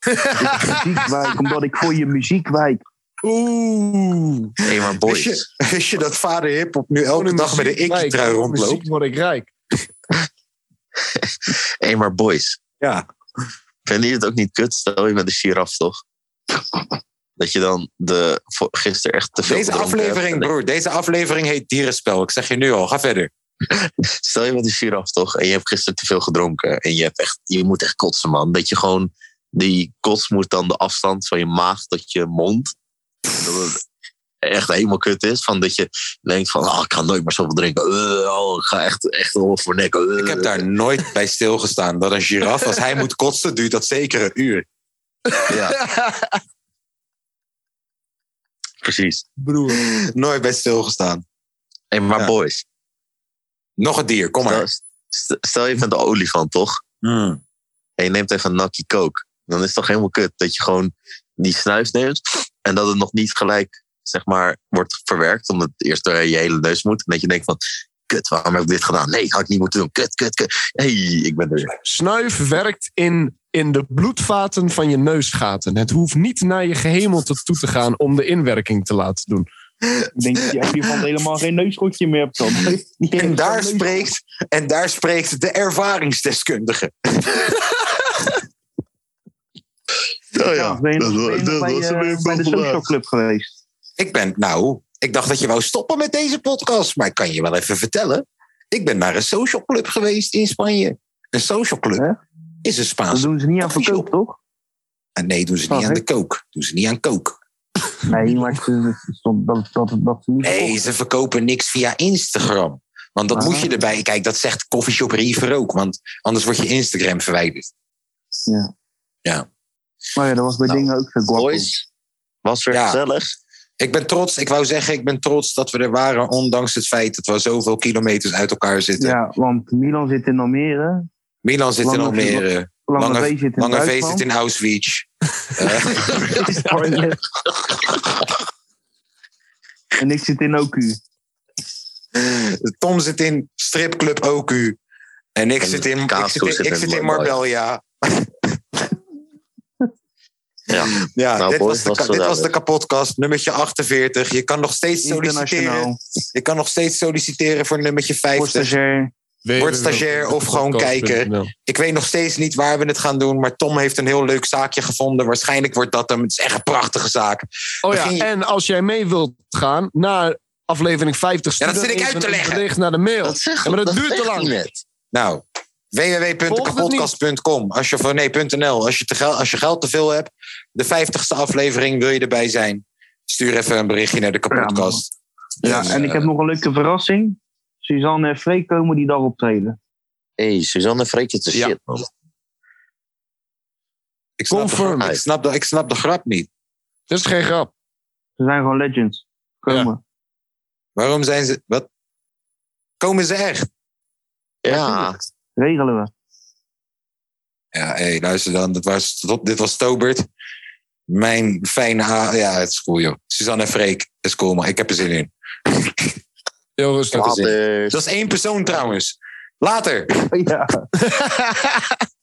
Speaker 7: muziekwijk, omdat ik voor je muziekwijk.
Speaker 6: Oeh.
Speaker 4: Nee, maar
Speaker 6: Wist je, wist je dat vader Hiphop nu elke dag met een Ikkie-trui rondloopt?
Speaker 4: word ik rijk. Hé, maar boys.
Speaker 6: Ja.
Speaker 4: Vinden jullie het ook niet kut? Stel, je bent een giraf, toch? Dat je dan de, voor- gisteren echt te veel
Speaker 6: Deze
Speaker 4: gedronken hebt
Speaker 6: aflevering,
Speaker 4: en dat-
Speaker 6: broer, deze aflevering heet Dierenspel. Ik zeg je nu al, ga verder.
Speaker 4: Stel je bent een giraf, toch? En je hebt gisteren te veel gedronken. En je, hebt echt, je moet echt kotsen, man. Dat je gewoon... Die kots moet dan de afstand van je maag tot je mond. Dat het echt helemaal kut is. Van dat je denkt van... ah, ik ga nooit meer zoveel drinken. Eh, oh, ik ga echt, echt wel voor nek. Eh.
Speaker 6: Ik heb daar nooit bij stilgestaan dat een giraf, als hij moet kotsen, duurt dat zeker een uur.
Speaker 4: Ja. Precies.
Speaker 6: Broer. Nooit bij stilgestaan.
Speaker 4: Hey, maar
Speaker 6: Ja.
Speaker 4: boys.
Speaker 6: Nog een dier, kom
Speaker 4: maar. Stel, stel je bent een olifant, toch? hmm. En je neemt even een nakkie kook. Dan is het toch helemaal kut dat je gewoon die snuif neemt. En dat het nog niet gelijk, zeg maar, wordt verwerkt. Omdat het eerst door je hele neus moet. En dat je denkt van, kut, waarom heb ik dit gedaan? Nee, had ik niet moeten doen. Kut, kut, kut. hey, ik ben er weer.
Speaker 5: Snuif werkt in, in de bloedvaten van je neusgaten. Het hoeft niet naar je gehemelte toe te gaan om de inwerking te laten doen.
Speaker 7: Ik denk dat je hiervan helemaal geen neusgoedje meer hebt. Dan.
Speaker 6: En daar, spreekt, en daar spreekt de ervaringsdeskundige.
Speaker 4: ja,
Speaker 7: ben je nog- ben je nog bij, eh, bij de social club geweest?
Speaker 6: Ik ben, nou, ik dacht dat je wou stoppen met deze podcast. Maar ik kan je wel even vertellen. Ik ben naar een social club geweest in Spanje. Een social club is een Spaanse
Speaker 7: Dat doen ze niet aan verkoop, toch?
Speaker 6: Ah, nee, doen ze niet aan de kook. Doen ze niet aan kook.
Speaker 7: Nee, maar ze- ze- stond- dat, dat, dat ze niet
Speaker 6: Nee, ze verkopen niks via Instagram. Want dat
Speaker 7: Ah.
Speaker 6: moet je erbij. Kijk, dat zegt Coffeeshop River ook. Want anders wordt je Instagram verwijderd.
Speaker 7: Ja.
Speaker 6: Ja. Nou,
Speaker 7: Maar ja, dat was bij dingen ook zo guapo.
Speaker 4: Was weer gezellig.
Speaker 6: Ik ben trots. Ik wou zeggen, ik ben trots dat we er waren. Ondanks het feit dat we zoveel kilometers uit elkaar zitten.
Speaker 7: Ja, want Milan zit in Almere.
Speaker 6: Milan zit in
Speaker 7: Lange-
Speaker 6: Almere.
Speaker 7: Lange V
Speaker 6: Lange,
Speaker 7: zit in
Speaker 6: Lange V
Speaker 7: Duitsland.
Speaker 6: zit in Auschwitz.
Speaker 7: Spanje.
Speaker 6: En ik zit in OQ. Eh, Tom zit in stripclub OQ. En ik zit in, ik zit
Speaker 4: Kaapstad
Speaker 6: in,
Speaker 4: zit
Speaker 6: ik
Speaker 4: in
Speaker 6: zit in
Speaker 4: Mumbai.
Speaker 6: Marbella.
Speaker 4: Ja,
Speaker 6: Ja,
Speaker 4: Nou,
Speaker 6: dit,
Speaker 4: boys,
Speaker 6: was de,
Speaker 4: dat
Speaker 6: ka-
Speaker 4: zo
Speaker 6: dit was de
Speaker 4: duidelijk.
Speaker 6: kapotkast, nummertje 48. Je kan nog steeds solliciteren. Je kan nog steeds solliciteren voor nummertje 50. Word
Speaker 7: stagiair.
Speaker 6: Word stagiair of gewoon kijken. Ik weet nog steeds niet waar we het gaan doen, maar Tom heeft een heel leuk zaakje gevonden. Waarschijnlijk wordt dat hem. Het is echt een prachtige zaak.
Speaker 5: Oh ja, en als jij mee wilt gaan naar aflevering 50...
Speaker 6: Ja, dat
Speaker 5: stuur
Speaker 6: zit ik
Speaker 5: dan
Speaker 6: uit
Speaker 5: even
Speaker 6: te
Speaker 5: een
Speaker 6: leggen.
Speaker 5: bericht naar de mail. Ja, maar dat, duurt te
Speaker 6: zegt
Speaker 5: lang.
Speaker 6: hij net. Nou, www.kapodcast.com. Als je, of nee, .nl. Als je, te gel- als je geld te veel hebt, de 50ste aflevering wil je erbij zijn. Stuur even een berichtje naar de Dus, eh, kapotkast.
Speaker 7: Ja, en ik heb nog een leuke verrassing. Suzanne en Freek komen die dag optreden.
Speaker 4: Hé, hey, Suzanne en Freek, het is shit, man.
Speaker 6: Ik snap, de, grap- ik, snap de, ik snap de grap niet.
Speaker 5: Dat is geen grap.
Speaker 7: Ze zijn gewoon legends. Komen.
Speaker 6: Waarom zijn ze... Wat? Komen ze echt? Ja.
Speaker 7: Regelen we.
Speaker 6: Ja, hé, luister dan. Dat was, dit was Tobert. Mijn fijne... ha- Ja, het is cool, joh. Suzanne en Freek. Het is cool, man. Ik heb er zin in.
Speaker 5: Heel rustig.
Speaker 6: Dat is één persoon trouwens. Later.
Speaker 7: Ja.